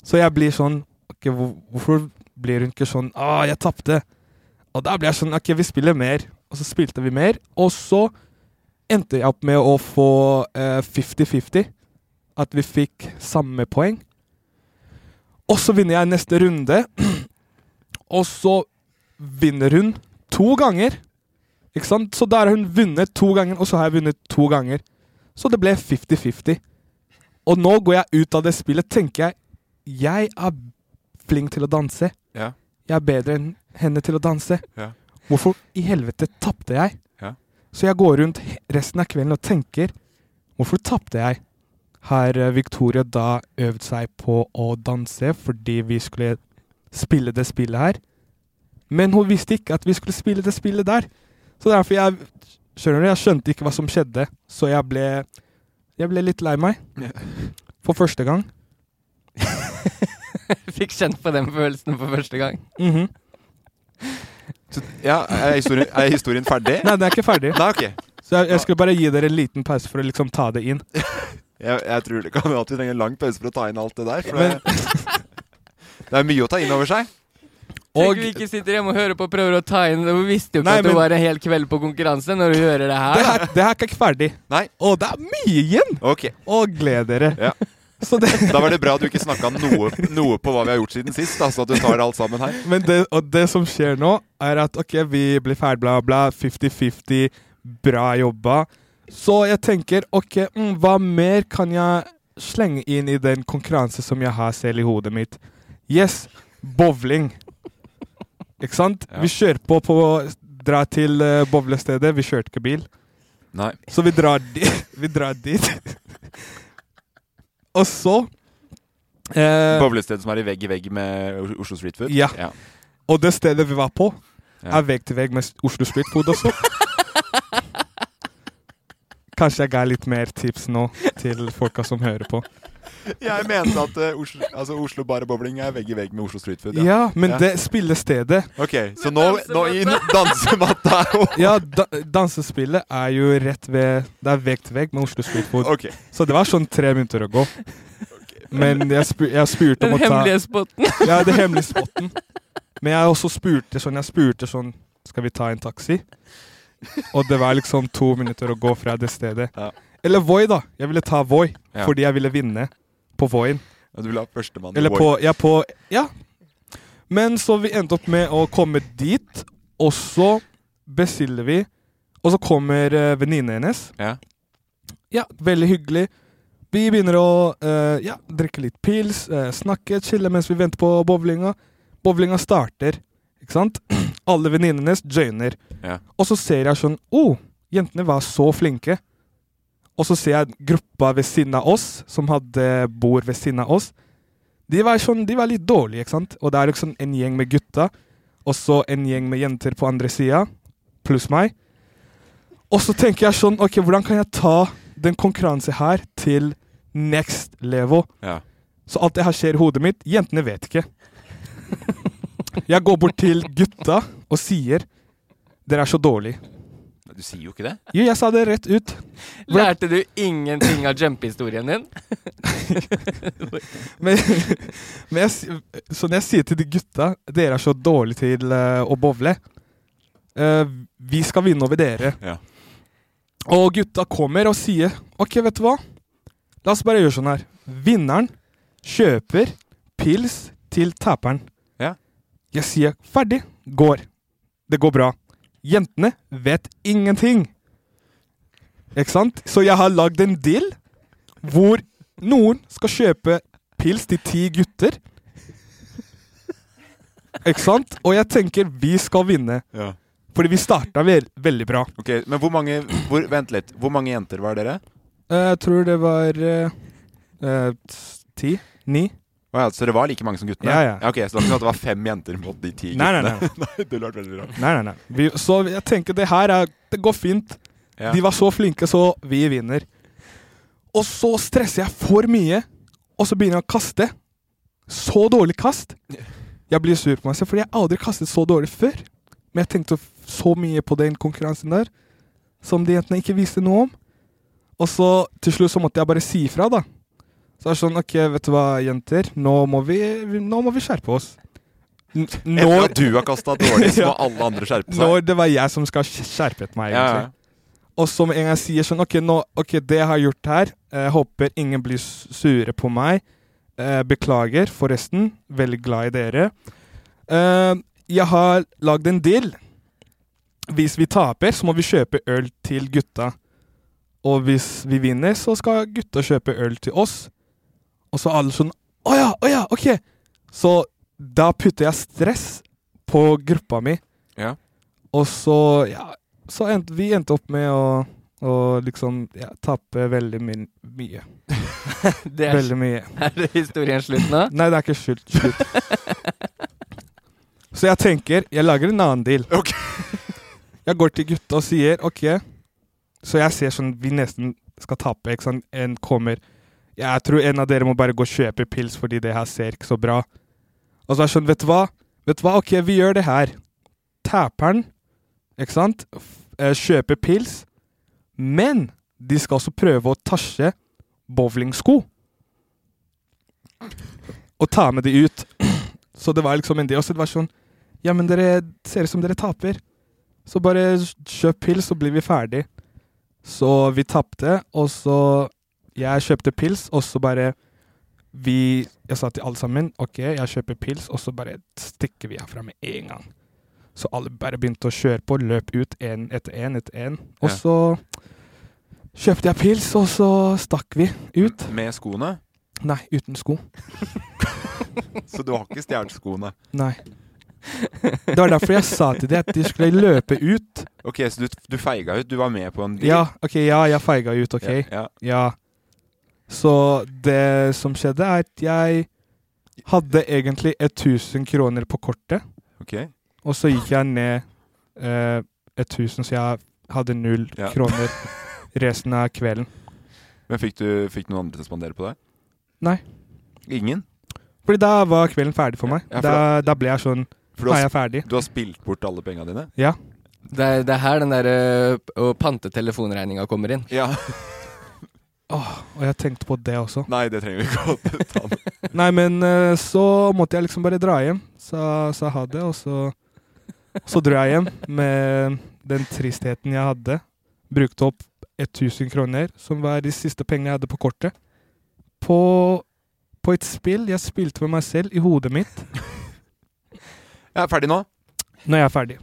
Speaker 1: Så jeg blir sånn ok, hvor, Hvorfor blir hun ikke sånn Å, ah, jeg tapte. Og da ble jeg sånn Ok, vi spiller mer. Og så spilte vi mer. Og så endte jeg opp med å få eh, 50-50. At vi fikk samme poeng. Og så vinner jeg neste runde. Og så vinner hun to ganger. Ikke sant? Så da har hun vunnet to ganger, og så har jeg vunnet to ganger. Så det ble 50-50. Og nå går jeg ut av det spillet, tenker jeg. Jeg er flink til å danse.
Speaker 3: Ja.
Speaker 1: Jeg er bedre enn henne til å danse.
Speaker 3: Ja.
Speaker 1: Hvorfor i helvete tapte jeg?
Speaker 3: Ja.
Speaker 1: Så jeg går rundt he- resten av kvelden og tenker Hvorfor tapte jeg? Har eh, Victoria da øvd seg på å danse fordi vi skulle spille det spillet her? Men hun visste ikke at vi skulle spille det spillet der. Så derfor jeg Skjønner du, jeg skjønte ikke hva som skjedde, så jeg ble Jeg ble litt lei meg.
Speaker 3: Ja.
Speaker 1: For første gang.
Speaker 2: Fikk kjent på den følelsen for første gang.
Speaker 1: Mhm.
Speaker 3: Så, ja, er, historien, er historien ferdig?
Speaker 1: Nei, den er ikke ferdig.
Speaker 3: Nei, ok.
Speaker 1: Så jeg, jeg skulle bare gi dere en liten pause for å liksom ta det inn.
Speaker 3: Jeg, jeg tror det kan være at vi trenger en lang pause for å ta inn alt det der. For
Speaker 1: Men-
Speaker 3: det, det er mye å ta inn over seg.
Speaker 2: Tenk
Speaker 1: Og-
Speaker 2: vi ikke sitter hjemme og hører på og prøver å ta inn Du visste jo ikke
Speaker 1: Nei,
Speaker 2: at det
Speaker 1: men-
Speaker 2: var en hel kveld på konkurranse når du hører det her.
Speaker 1: Det
Speaker 2: da.
Speaker 1: her, det her er ikke ferdig.
Speaker 3: Nei.
Speaker 1: Og det er mye igjen!
Speaker 3: Ok.
Speaker 1: Å, gled dere.
Speaker 3: Ja.
Speaker 1: Så det,
Speaker 3: Da var det bra at du ikke snakka noe, noe på hva vi har gjort siden sist. Altså at du tar alt sammen her.
Speaker 1: men det, og det som skjer nå, er at ok, vi blir ferdig, bla, bla. 50-50. Bra jobba. Så jeg tenker ok, mm, hva mer kan jeg slenge inn i den konkurranse som jeg har selv i hodet mitt? Yes, bowling. Ikke sant?
Speaker 3: Ja.
Speaker 1: Vi kjører på på å dra til eh, bowlestedet. Vi kjørte ikke bil.
Speaker 3: Nei.
Speaker 1: Så vi drar, di vi drar dit. Og så eh,
Speaker 3: Bowlestedet som er i vegg i vegg med Os- Oslo Street Food.
Speaker 1: Ja. Og det stedet vi var på,
Speaker 3: Ja.
Speaker 1: er vegg til vegg med s- Oslo Street Food også. Kanskje jeg ga litt mer tips nå til folka som hører på.
Speaker 3: Jeg mente at eh, Oslo, altså Oslo Bar og Bowling er vegg i vegg med Oslo Street Food. Ja.
Speaker 1: Ja, men det spillestedet
Speaker 3: Ok, Så nå, nå i dansematta er jo
Speaker 1: Ja, da dansespillet er jo rett ved Det er vegg til vegg med Oslo Street Food.
Speaker 3: Ok.
Speaker 1: Så det var sånn tre minutter å gå. Men jeg, spu jeg spurte
Speaker 2: Den
Speaker 1: om å ta
Speaker 2: hemmelige spotten.
Speaker 1: Ja, det er hemmelig spotten. Men jeg også spurte sånn, jeg spurte sånn Skal vi ta en taxi? Og det var liksom to minutter å gå fra det stedet.
Speaker 3: Ja.
Speaker 1: Eller Voi, da. Jeg ville ta Voi
Speaker 3: Ja.
Speaker 1: fordi jeg ville vinne på Voien.
Speaker 3: Ja, Du vil ha førstemann
Speaker 1: Eller
Speaker 3: Voi.
Speaker 1: på Ja, på Ja. Men så vi endte opp med å komme dit, og så bestiller vi. Og så kommer uh, venninnen hennes.
Speaker 3: Ja.
Speaker 1: Ja, veldig hyggelig. Vi begynner å eh, ja, drikke litt pils, eh, snakke, chille mens vi venter på bowlinga. Bowlinga starter, ikke sant? Alle venninnene hennes joiner.
Speaker 3: Ja.
Speaker 1: Og så ser jeg sånn Å, oh, jentene var så flinke. Og så ser jeg gruppa ved siden av oss, som hadde bord ved siden av oss. De var, sånn, de var litt dårlige, ikke sant? Og det er liksom en gjeng med gutta, og så en gjeng med jenter på andre sida, pluss meg. Og så tenker jeg sånn Ok, hvordan kan jeg ta den konkurranse her til next level?
Speaker 3: Ja.
Speaker 1: Så alt det her skjer i hodet mitt. Jentene vet ikke. Jeg går bort til gutta og sier Dere er så dårlige.
Speaker 3: Du sier jo ikke det.
Speaker 1: Jo, jeg sa det rett ut.
Speaker 2: Lærte du ingenting av jump-historien din?
Speaker 1: Men, men jeg, si- så når jeg sier til de gutta Dere er så dårlige til eh, å bowle. Eh, vi skal vinne over dere.
Speaker 3: Ja.
Speaker 1: Og gutta kommer og sier OK, vet du hva? La oss bare gjøre sånn her. Vinneren kjøper pils til taperen.
Speaker 3: Ja.
Speaker 1: Jeg sier ferdig. Går. Det går bra. Jentene vet ingenting. Ikke sant? Så jeg har lagd en deal hvor noen skal kjøpe pils til ti gutter. Ikke sant? Og jeg tenker vi skal vinne,
Speaker 3: Ja.
Speaker 1: fordi vi starta vel, veldig bra.
Speaker 3: Ok, Men hvor mange hvor, Vent litt. Hvor mange jenter var dere?
Speaker 1: Eh, Jeg tror det var eh, eh, s- ti? Ni?
Speaker 3: Å ja, så det var like mange som guttene?
Speaker 1: Ja, ja.
Speaker 3: ok, Så det var ikke sånn at det var fem jenter mot de ti
Speaker 1: Nei, nei,
Speaker 3: guttene? Nei, nei, det ville vært veldig rart.
Speaker 1: Nei, nei, nei. Vi, så jeg tenker det her er, det går fint.
Speaker 3: Ja.
Speaker 1: De var så flinke, så vi vinner. Og så stresser jeg for mye, og så begynner jeg å kaste. Så dårlig kast. Jeg blir sur på meg selv, fordi jeg har aldri kastet så dårlig før. Men jeg tenkte så mye på den konkurransen der, som de jentene ikke visste noe om. Og så til slutt så måtte jeg bare si ifra, da. Så det er sånn OK, vet du hva, jenter. Nå må vi, vi- nå må vi skjerpe oss. N-
Speaker 3: Etter
Speaker 1: Når,
Speaker 3: at du har kasta dårlig, så
Speaker 1: Ja.
Speaker 3: må alle andre skjerpe seg.
Speaker 1: når det var jeg som skal skjerpet meg,
Speaker 3: ja,
Speaker 1: egentlig.
Speaker 3: ja.
Speaker 1: Og så med en gang jeg sier sånn OK, nå, ok, det jeg har gjort her eh, Jeg håper ingen blir s- sure på meg. Eh, beklager, forresten. Veldig glad i dere. Eh, jeg har lagd en deal. Hvis vi taper, så må vi kjøpe øl til gutta. Og hvis vi vinner, så skal gutta kjøpe øl til oss. Og så er alle sånn Å ja, å ja, OK. Så da putter jeg stress på gruppa mi.
Speaker 3: Ja.
Speaker 1: Og så ja, så endte, vi endte opp med å, å liksom ja, tape veldig min, mye.
Speaker 2: Det er,
Speaker 1: Veldig mye.
Speaker 2: er historien slutt nå?
Speaker 1: Nei, det er ikke skyld. skyld. så jeg tenker, jeg lager en annen deal.
Speaker 3: Ok.
Speaker 1: jeg går til gutta og sier OK. Så jeg ser sånn vi nesten skal tape. Ikke sant? En kommer Jeg tror en av dere må bare gå og kjøpe pils fordi det her ser ikke så bra. Og så er det sånn, vet du hva? Vet du hva? OK, vi gjør det her. Taperen, ikke sant, F eh, kjøper pils. Men de skal også prøve å tasje bowlingsko og ta med de ut. Så det var liksom en del. Og så det var sånn Ja, men dere ser ut som dere taper. Så bare kjøp pils, så blir vi ferdig. Så vi tapte, og så Jeg kjøpte pils, og så bare Vi Jeg sa til alle sammen OK, jeg kjøper pils, og så bare stikker vi herfra med en gang. Så alle bare begynte å kjøre på, løp ut én etter én etter én. Og
Speaker 3: Ja.
Speaker 1: så kjøpte jeg pils, og så stakk vi ut.
Speaker 3: Med skoene.
Speaker 1: Nei, uten sko.
Speaker 3: Så du har ikke stjålet skoene.
Speaker 1: Nei. Det var derfor jeg sa til dem at de skulle løpe ut.
Speaker 3: Ok, så du, du feiga ut. Du var med på en deal.
Speaker 1: Ja, ok, ja, jeg feiga ut, ok.
Speaker 3: Ja, ja.
Speaker 1: Ja. Så det som skjedde, er at jeg hadde egentlig 1000 kroner på kortet,
Speaker 3: Ok.
Speaker 1: og så gikk jeg ned eh, 1000, så jeg hadde null
Speaker 3: Ja.
Speaker 1: kroner resten av kvelden.
Speaker 3: Men fikk du fikk noen andre til å spandere på deg?
Speaker 1: Nei.
Speaker 3: Ingen?
Speaker 1: Fordi da var kvelden ferdig for meg.
Speaker 3: Ja, for
Speaker 1: da, da ble jeg sånn
Speaker 3: For
Speaker 1: Nå
Speaker 3: du
Speaker 1: er
Speaker 3: har,
Speaker 1: jeg ferdig.
Speaker 3: du har spilt bort alle penga dine?
Speaker 2: Det er, det er her den derre å pante telefonregninga kommer inn.
Speaker 3: Ja.
Speaker 1: Og jeg tenkte på det også.
Speaker 3: Nei, det trenger vi ikke å ta med.
Speaker 1: Nei, men eh, så måtte jeg liksom bare dra hjem. Sa, sa ha det, og så Så dro jeg hjem med den tristheten jeg hadde. Brukte opp 1000 kroner, som var de siste pengene jeg hadde på kortet. På, på et spill jeg spilte med meg selv i hodet mitt.
Speaker 3: Jeg er ferdig nå.
Speaker 1: Når jeg er ferdig.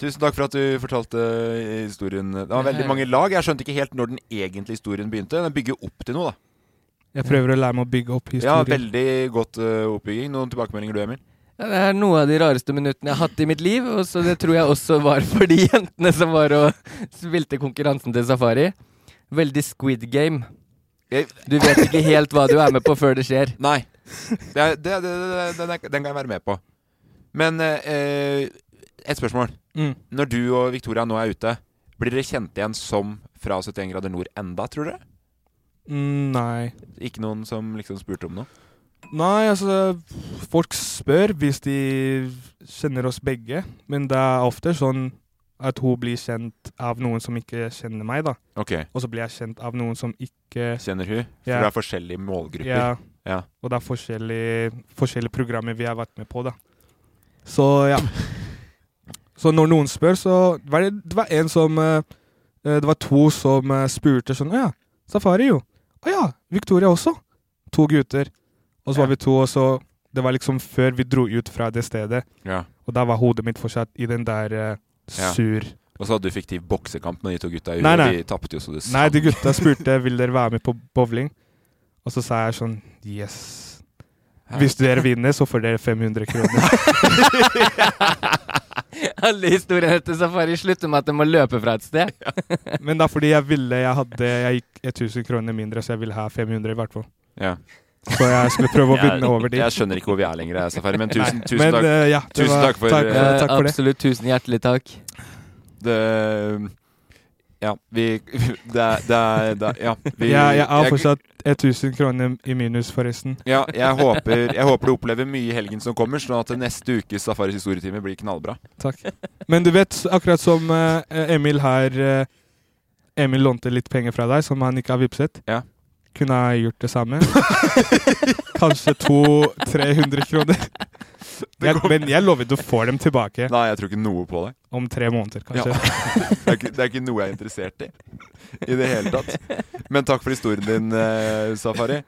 Speaker 3: Tusen takk for at du fortalte eh, historien. Det var veldig mange lag. Jeg skjønte ikke helt når den egentlige historien begynte. Den bygger opp til noe, da.
Speaker 1: Jeg prøver å lære meg å bygge opp
Speaker 3: Ja,
Speaker 1: historier.
Speaker 3: Veldig godt eh, oppbygging. Noen tilbakemeldinger du, Emil?
Speaker 2: Ja, det er noe av de rareste minuttene jeg har hatt i mitt liv, og så det tror jeg også var for de jentene som var og spilte konkurransen til Safari. Veldig Squid Game.
Speaker 3: Jeg-
Speaker 2: Du vet ikke helt hva du er med på før det skjer.
Speaker 3: Nei. Det er, det, det, det, den, er, den kan jeg være med på. Men eh, et spørsmål.
Speaker 1: Mm.
Speaker 3: Når du og Victoria nå er ute, blir dere kjent igjen som fra 71 grader nord enda, tror dere?
Speaker 1: Mm, nei.
Speaker 3: Ikke noen som liksom spurte om noe?
Speaker 1: Nei, altså Folk spør hvis de kjenner oss begge, men det er ofte sånn at hun blir kjent av noen som ikke kjenner meg, da.
Speaker 3: Ok,
Speaker 1: Og så blir jeg kjent av noen som ikke
Speaker 3: kjenner hun? For
Speaker 1: Ja.
Speaker 3: det er forskjellige målgrupper.
Speaker 1: Ja.
Speaker 3: Ja.
Speaker 1: Og det er forskjellige, forskjellige programmer vi har vært med på, da. Så ja. Så når noen spør, så var det, det var en som eh, eh, Det var to som eh, spurte sånn Å ja, Safari, jo. Å ja, Victoria også. To gutter. Og så var
Speaker 3: Ja.
Speaker 1: vi to, og så Det var liksom før vi dro ut fra det stedet,
Speaker 3: Ja.
Speaker 1: og da var hodet mitt fortsatt i den der eh,
Speaker 3: Ja.
Speaker 1: sur
Speaker 3: Og så hadde du fiktiv boksekamp med de to gutta. i
Speaker 1: Nei,
Speaker 3: huet.
Speaker 1: nei.
Speaker 3: De tapte jo så det
Speaker 1: Nei,
Speaker 3: sang.
Speaker 1: de gutta spurte Vil dere være med på bowling. Og så sa jeg sånn Yes. Hvis dere vinner, så får dere 500 kroner.
Speaker 2: Alle historiene til Safari slutter med at de må løpe fra et sted.
Speaker 1: Men det er fordi jeg ville Jeg hadde Jeg gikk 1000 kroner mindre, så jeg ville ha 500 i hvert fall.
Speaker 3: Ja.
Speaker 1: Så jeg skulle prøve å vinne over de.
Speaker 3: Jeg skjønner ikke hvor vi er lenger, jeg, Safari, men tusen,
Speaker 1: Nei,
Speaker 3: tusen
Speaker 1: men,
Speaker 3: takk.
Speaker 1: eh, ja, det
Speaker 3: Tusen takk for-
Speaker 1: takk,
Speaker 2: Eh,
Speaker 1: takk for det.
Speaker 2: Absolutt. Tusen hjertelig takk.
Speaker 3: Det Ja, vi Det er, det er det er- Ja, vi
Speaker 1: Jeg, jeg har
Speaker 3: jeg-
Speaker 1: fortsatt 1000 kroner i minus, forresten.
Speaker 3: Ja, jeg håper, jeg håper du opplever mye i helgen som kommer, sånn at neste ukes Safaris historietime blir knallbra.
Speaker 1: Takk. Men du vet, s- akkurat som eh, Emil har eh, Emil lånte litt penger fra deg som han ikke har vippset.
Speaker 3: Ja.
Speaker 1: Kunne jeg gjort det samme? Kanskje 200-300 kroner. Jeg, men jeg lover du får dem tilbake
Speaker 3: Nei, jeg tror ikke noe på det.
Speaker 1: om tre måneder, kanskje.
Speaker 3: Det er, ikke, det er ikke noe jeg er interessert i. I det hele tatt. Men takk for historien din, eh, Safari.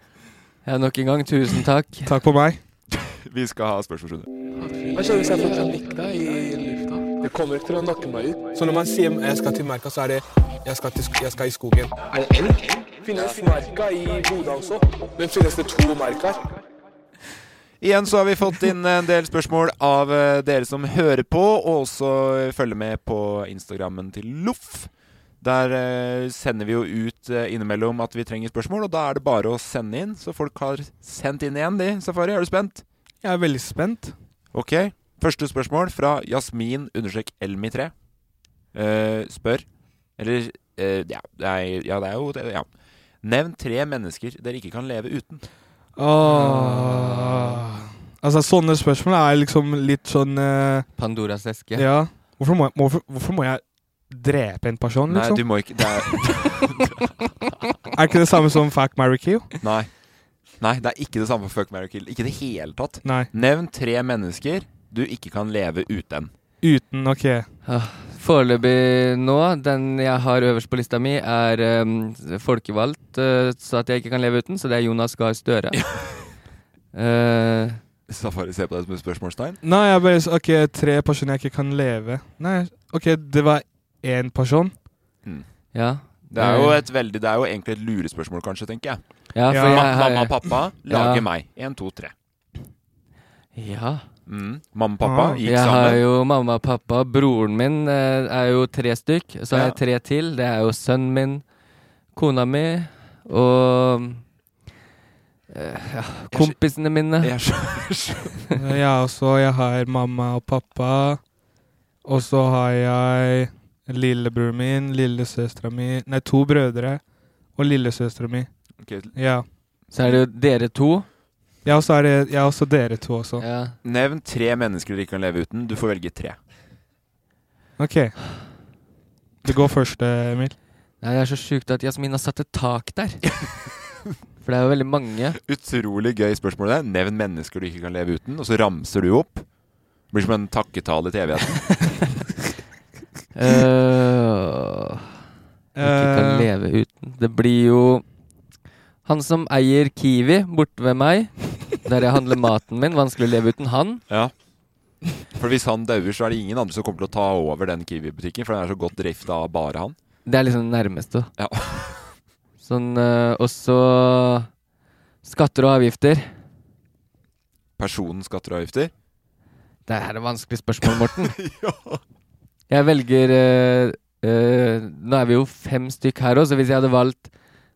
Speaker 2: Ja, nok en gang, tusen takk.
Speaker 1: Takk på meg.
Speaker 3: Vi skal ha spørsmålsrunde.
Speaker 4: Hva skjer hvis jeg får panikk da i lufta? Det kommer ikke til å nakke meg ut. Så når man sier 'jeg skal til merka', så er det 'jeg skal, til, sk- jeg skal i skogen'. Er det elg? Finnes merka i Bodø også? Men finnes det to merker?
Speaker 3: Igjen så har vi fått inn en del spørsmål av eh, dere som hører på, og også følger med på Instagrammen til Loff. Der eh, sender vi jo ut eh, innimellom at vi trenger spørsmål, og da er det bare å sende inn. Så folk har sendt inn igjen, de. Safari, er du spent?
Speaker 1: Jeg er veldig spent.
Speaker 3: Ok, første spørsmål fra Jasmin understrek Elmi3 Eh, Spør Eller, eh, ja, det er, ja, det er jo det, ja. Nevn tre mennesker dere ikke kan leve uten
Speaker 1: Åh. Altså, sånne spørsmål er liksom litt sånn eh,
Speaker 2: Pandoras eske.
Speaker 1: Ja. Hvorfor må jeg, hvorfor, hvorfor må jeg drepe en
Speaker 2: Sånn,
Speaker 1: person,
Speaker 3: Nei,
Speaker 1: liksom?
Speaker 3: du må ikke det er,
Speaker 1: Er ikke det samme som fuck, marry, kill?
Speaker 3: nei. nei, det er ikke det samme for Fuck, Mary Kill Ikke i det hele tatt
Speaker 1: Nei.
Speaker 3: Nevn tre mennesker du ikke kan leve uten
Speaker 1: Uten, ok.
Speaker 2: Foreløpig nå, den jeg har øverst på lista mi, er eh, folkevalgt, eh, så at jeg ikke kan leve uten, så det er Jonas Gahr Støre. Eh,
Speaker 3: Safari ser på deg som et spørsmålstegn
Speaker 1: Nei, jeg bare s- Ok, tre personer jeg ikke kan leve Nei, ok, det var én person.
Speaker 2: ja.
Speaker 3: Det er jo, et veldig, det er jo egentlig et lurespørsmål kanskje, tenker jeg
Speaker 2: ja, for
Speaker 1: Ja.
Speaker 2: jeg
Speaker 3: Ma
Speaker 2: har-
Speaker 3: Mamma og pappa lager
Speaker 2: Ja.
Speaker 3: meg 1, 2, 3
Speaker 2: Ja.
Speaker 3: mm. Mamma og pappa
Speaker 1: Ah.
Speaker 3: gikk
Speaker 2: Jeg har
Speaker 3: sammen
Speaker 2: jo mamma, pappa, broren min eh, er jo tre stykk. Så har
Speaker 3: Ja.
Speaker 2: jeg tre til. Det er jo sønnen min, kona mi og eh, ja, kompisene mine.
Speaker 3: Jeg skjønner
Speaker 1: Eh, Jeg også. Jeg har mamma og pappa. Og så har jeg lillebroren min, lillesøstera mi Nei, to brødre og lillesøstera mi.
Speaker 3: Ok,
Speaker 1: Ja.
Speaker 2: Så er det jo dere to.
Speaker 1: Jeg også er det, jeg er også dere to også.
Speaker 2: Ja.
Speaker 3: Nevn tre mennesker dere ikke kan leve uten. Du får velge tre.
Speaker 1: Ok. Du går først, eh, Emil.
Speaker 2: Nei, det er så sjukt at Jasmin har satt et tak der. For det er jo veldig mange.
Speaker 3: Utrolig gøy spørsmål. det. Nevn mennesker du ikke kan leve uten, og så ramser du opp. Det blir som en takketale til evigheten.
Speaker 2: Uh, ikke kan
Speaker 1: Eh,
Speaker 2: leve uten. Det blir jo han som eier Kiwi borte ved meg, der jeg handler maten min. Vanskelig å leve uten han.
Speaker 3: Ja. For hvis han dauer, så er det ingen andre som kommer til å ta over den Kiwi-butikken, for den er så godt drifta av bare han.
Speaker 2: Det er liksom det nærmeste.
Speaker 3: Ja.
Speaker 2: Sånn, eh, og så skatter og avgifter.
Speaker 3: Personen skatter og avgifter.
Speaker 2: Det her er vanskelige spørsmål, Morten. Jeg velger eh, eh, Nå er vi jo fem stykk her òg, så hvis jeg hadde valgt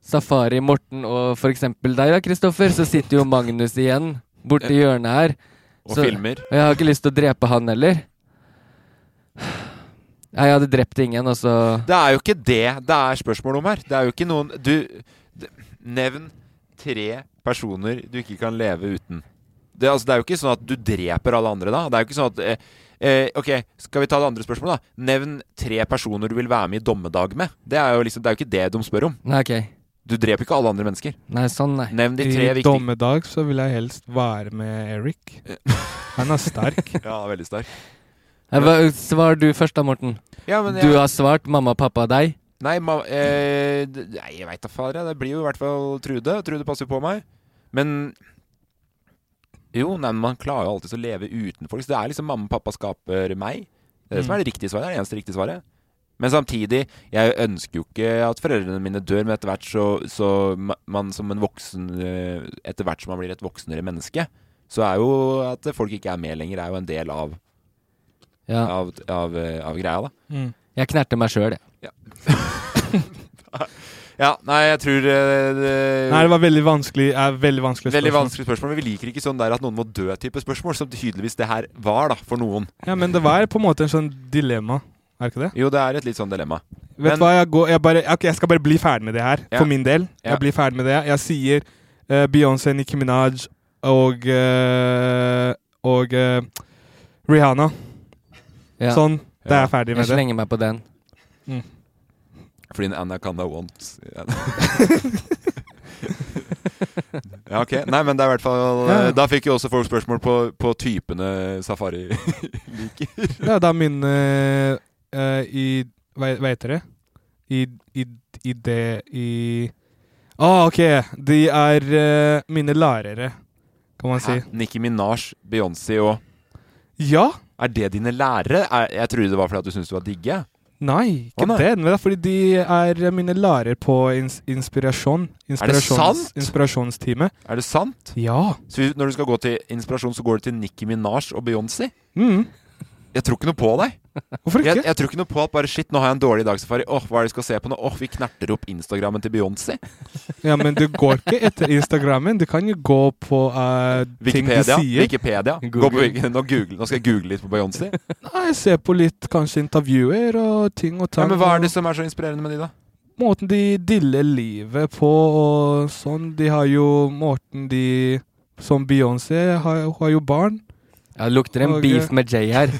Speaker 2: Safari, Morten og f.eks. deg, da, Kristoffer, så sitter jo Magnus igjen borti hjørnet her.
Speaker 3: Og
Speaker 2: Så-
Speaker 3: filmer.
Speaker 2: Og jeg har ikke lyst til å drepe han heller. Nei, jeg hadde drept ingen, og så
Speaker 3: Det er jo ikke det det er spørsmål om her. Det er jo ikke noen Du d- Nevn tre personer du ikke kan leve uten. Det, altså, det er jo ikke sånn at du dreper alle andre da. Det er jo ikke sånn at eh, eh, Ok, skal vi ta det andre spørsmålet, da? Nevn tre personer du vil være med i dommedag med. Det er jo liksom Det er jo ikke det de spør om.
Speaker 2: Nei, ok.
Speaker 3: Du dreper ikke alle andre mennesker.
Speaker 2: Nei, sånn, nei.
Speaker 3: Nevn de tre
Speaker 1: I
Speaker 3: viktige
Speaker 1: dommedag så vil jeg helst være med Eric. Han er sterk.
Speaker 3: Ja, veldig sterk.
Speaker 2: Nei, hva- Svar du først da, Morten.
Speaker 3: Ja, men
Speaker 2: Du
Speaker 3: jeg,
Speaker 2: har svart mamma, pappa, deg.
Speaker 3: Nei, ma, eh, d- nei, jeg veit da fader. jeg. Det blir jo i hvert fall Trude. Trude passer jo på meg. Men Jo, nei, men man klarer jo alltid å leve uten folk. Så det er liksom mamma og pappa skaper meg. Det er det som er det riktige svaret. Det er det eneste riktige svaret. Men samtidig, jeg ønsker jo ikke at foreldrene mine dør, men etter hvert så, så ma- man som en voksen eh, Etter hvert som man blir et voksnere menneske, så er jo at folk ikke er med lenger, er jo en del av,
Speaker 2: Ja.
Speaker 3: av, av, eh, av greia, da.
Speaker 1: Mm.
Speaker 2: Jeg knerter meg sjøl, jeg.
Speaker 3: Ja, nei, jeg tror eh, det-
Speaker 1: Nei, det var veldig vanskelig, er veldig vanskelig
Speaker 3: Veldig
Speaker 1: spørsmål.
Speaker 3: vanskelig spørsmål. men Vi liker ikke sånn der at noen må dø-type spørsmål, som tydeligvis det her var da, for noen.
Speaker 1: Ja, men det var på en måte en sånn dilemma. Er det ikke det?
Speaker 3: Jo, det er et litt sånn dilemma.
Speaker 1: Vet
Speaker 3: Men-
Speaker 1: du hva, jeg, går, jeg, bare, ok, jeg skal bare bli ferdig med det her,
Speaker 3: Ja.
Speaker 1: for min del.
Speaker 3: Ja.
Speaker 1: Jeg blir ferdig med det. Jeg sier eh, Beyoncé, Nicki Minaj og eh, og eh, Rihanna.
Speaker 2: Ja.
Speaker 1: Sånn. Da er
Speaker 3: Ja.
Speaker 1: jeg ferdig
Speaker 2: Jeg
Speaker 1: med det.
Speaker 2: slenger meg på den.
Speaker 3: Fordi en anaconda wants Ja, ok. Nei, men det er i hvert fall
Speaker 1: Ja.
Speaker 3: Da fikk jo også folk spørsmål på, på typene safari liker.
Speaker 1: Ja, det er min eh, eh, i Hva hva heter det? I, i, i det I Ah, ok! De er eh, mine lærere, kan man si.
Speaker 3: Hæ? Nicki Minaj, Beyoncé og
Speaker 1: Ja?
Speaker 3: Er det dine lærere? Er, jeg trodde det var fordi at du syntes du var digge.
Speaker 1: Nei, ikke
Speaker 3: Å, nei.
Speaker 1: det. Men det er fordi de er mine lærere på ins inspirasjon.
Speaker 3: sant?
Speaker 1: Inspirasjonstime.
Speaker 3: Er det sant?
Speaker 1: Ja.
Speaker 3: Så hvis- når du skal gå til inspirasjon, så går du til Nicki Minaj og Beyoncé?
Speaker 1: Mm.
Speaker 3: Jeg tror ikke noe på deg.
Speaker 1: Hvorfor ikke?
Speaker 3: Jeg, jeg tror ikke noe på at bare shit, nå har jeg en dårlig dag, Safari. Åh, hva er det jeg skal se på nå? Åh, vi knerter opp Instagrammen til Beyoncé.
Speaker 1: Ja, men du går ikke etter Instagrammen. Du kan jo gå på eh, ting de
Speaker 3: Wikipedia.
Speaker 1: sier.
Speaker 3: Wikipedia. Gå på,
Speaker 2: Google.
Speaker 3: Wiki- nå, google, nå skal jeg google litt på Beyoncé.
Speaker 1: Nei, se på litt kanskje intervjuer og ting og
Speaker 3: Ja,
Speaker 1: tang.
Speaker 3: men hva er
Speaker 1: og
Speaker 3: det som er så inspirerende med de, da?
Speaker 1: Måten de diller livet på og sånn. De har jo måten de Som Beyoncé har, hun har jo barn.
Speaker 2: Ja, det lukter en
Speaker 1: Og,
Speaker 2: beef
Speaker 1: eh,
Speaker 2: med Jay her.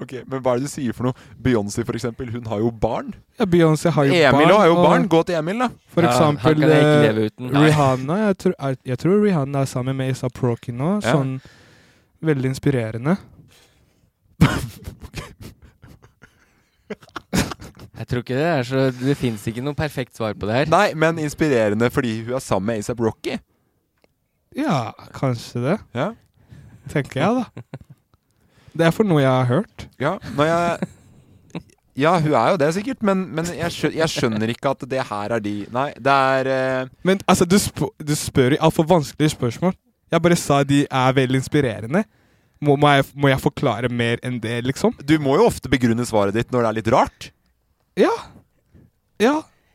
Speaker 3: Ok, Men hva er det du sier for noe? Beyoncé, for eksempel, hun har jo barn.
Speaker 1: Ja, Beyoncé har jo barn.
Speaker 3: Emil har jo
Speaker 1: og
Speaker 3: barn. Gå til Emil, da.
Speaker 1: For
Speaker 2: Ja,
Speaker 1: eksempel
Speaker 2: Han kan jeg ikke
Speaker 1: eh,
Speaker 2: leve uten. Nei.
Speaker 1: Rihanna. Jeg tror, er, jeg tror Rihanna er sammen med Isa Prokin nå.
Speaker 3: Ja.
Speaker 1: Sånn veldig inspirerende.
Speaker 2: Jeg tror ikke det er så Det fins ikke noe perfekt svar på det her.
Speaker 3: Nei, men inspirerende fordi hun er sammen med A$AP Rocky.
Speaker 1: Ja, kanskje det.
Speaker 3: Ja.
Speaker 1: Tenker jeg, da. Det er for noe jeg har hørt.
Speaker 3: Ja, når jeg ja, hun er jo det sikkert, men, men jeg, skjø jeg skjønner ikke at det her er de Nei, det er eh,
Speaker 1: Men altså, du, sp du spør i altfor vanskelige spørsmål. Jeg bare sa de er veldig inspirerende. Må, må, jeg, må jeg forklare mer enn det, liksom?
Speaker 3: Du må jo ofte begrunne svaret ditt når det er litt rart.
Speaker 1: Ja. Ja.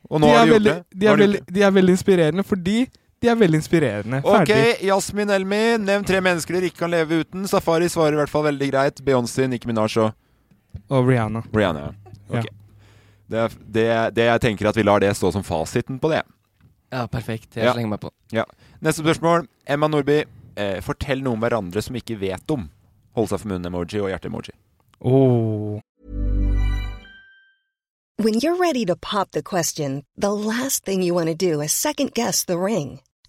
Speaker 3: Og
Speaker 1: De
Speaker 3: nå har
Speaker 1: er,
Speaker 3: du gjort
Speaker 1: veldig,
Speaker 3: det.
Speaker 1: de,
Speaker 3: Nå
Speaker 1: er
Speaker 3: har du gjort
Speaker 1: veldig, de er veldig inspirerende fordi de er veldig inspirerende.
Speaker 3: Ok,
Speaker 1: Ferdig.
Speaker 3: Jasmin Elmi, nevn tre mennesker dere ikke kan leve uten. Safari svarer i hvert fall veldig greit. Beyoncé, Nicki Minaj og
Speaker 1: Og Rihanna.
Speaker 3: Rihanna.
Speaker 1: Ja.
Speaker 3: Ok. Det, er f- det, det jeg tenker at vi lar det stå som fasiten på det.
Speaker 2: Ja, perfekt. Jeg
Speaker 3: Ja.
Speaker 2: slenger meg på.
Speaker 3: Neste spørsmål. Emma Nordby, eh, fortell noe om hverandre som ikke vet om. Hold seg for munnen-emoji og hjerte-emoji.
Speaker 1: Oh.
Speaker 5: When you're ready to pop the question, the last thing you want to do is second guess the ring.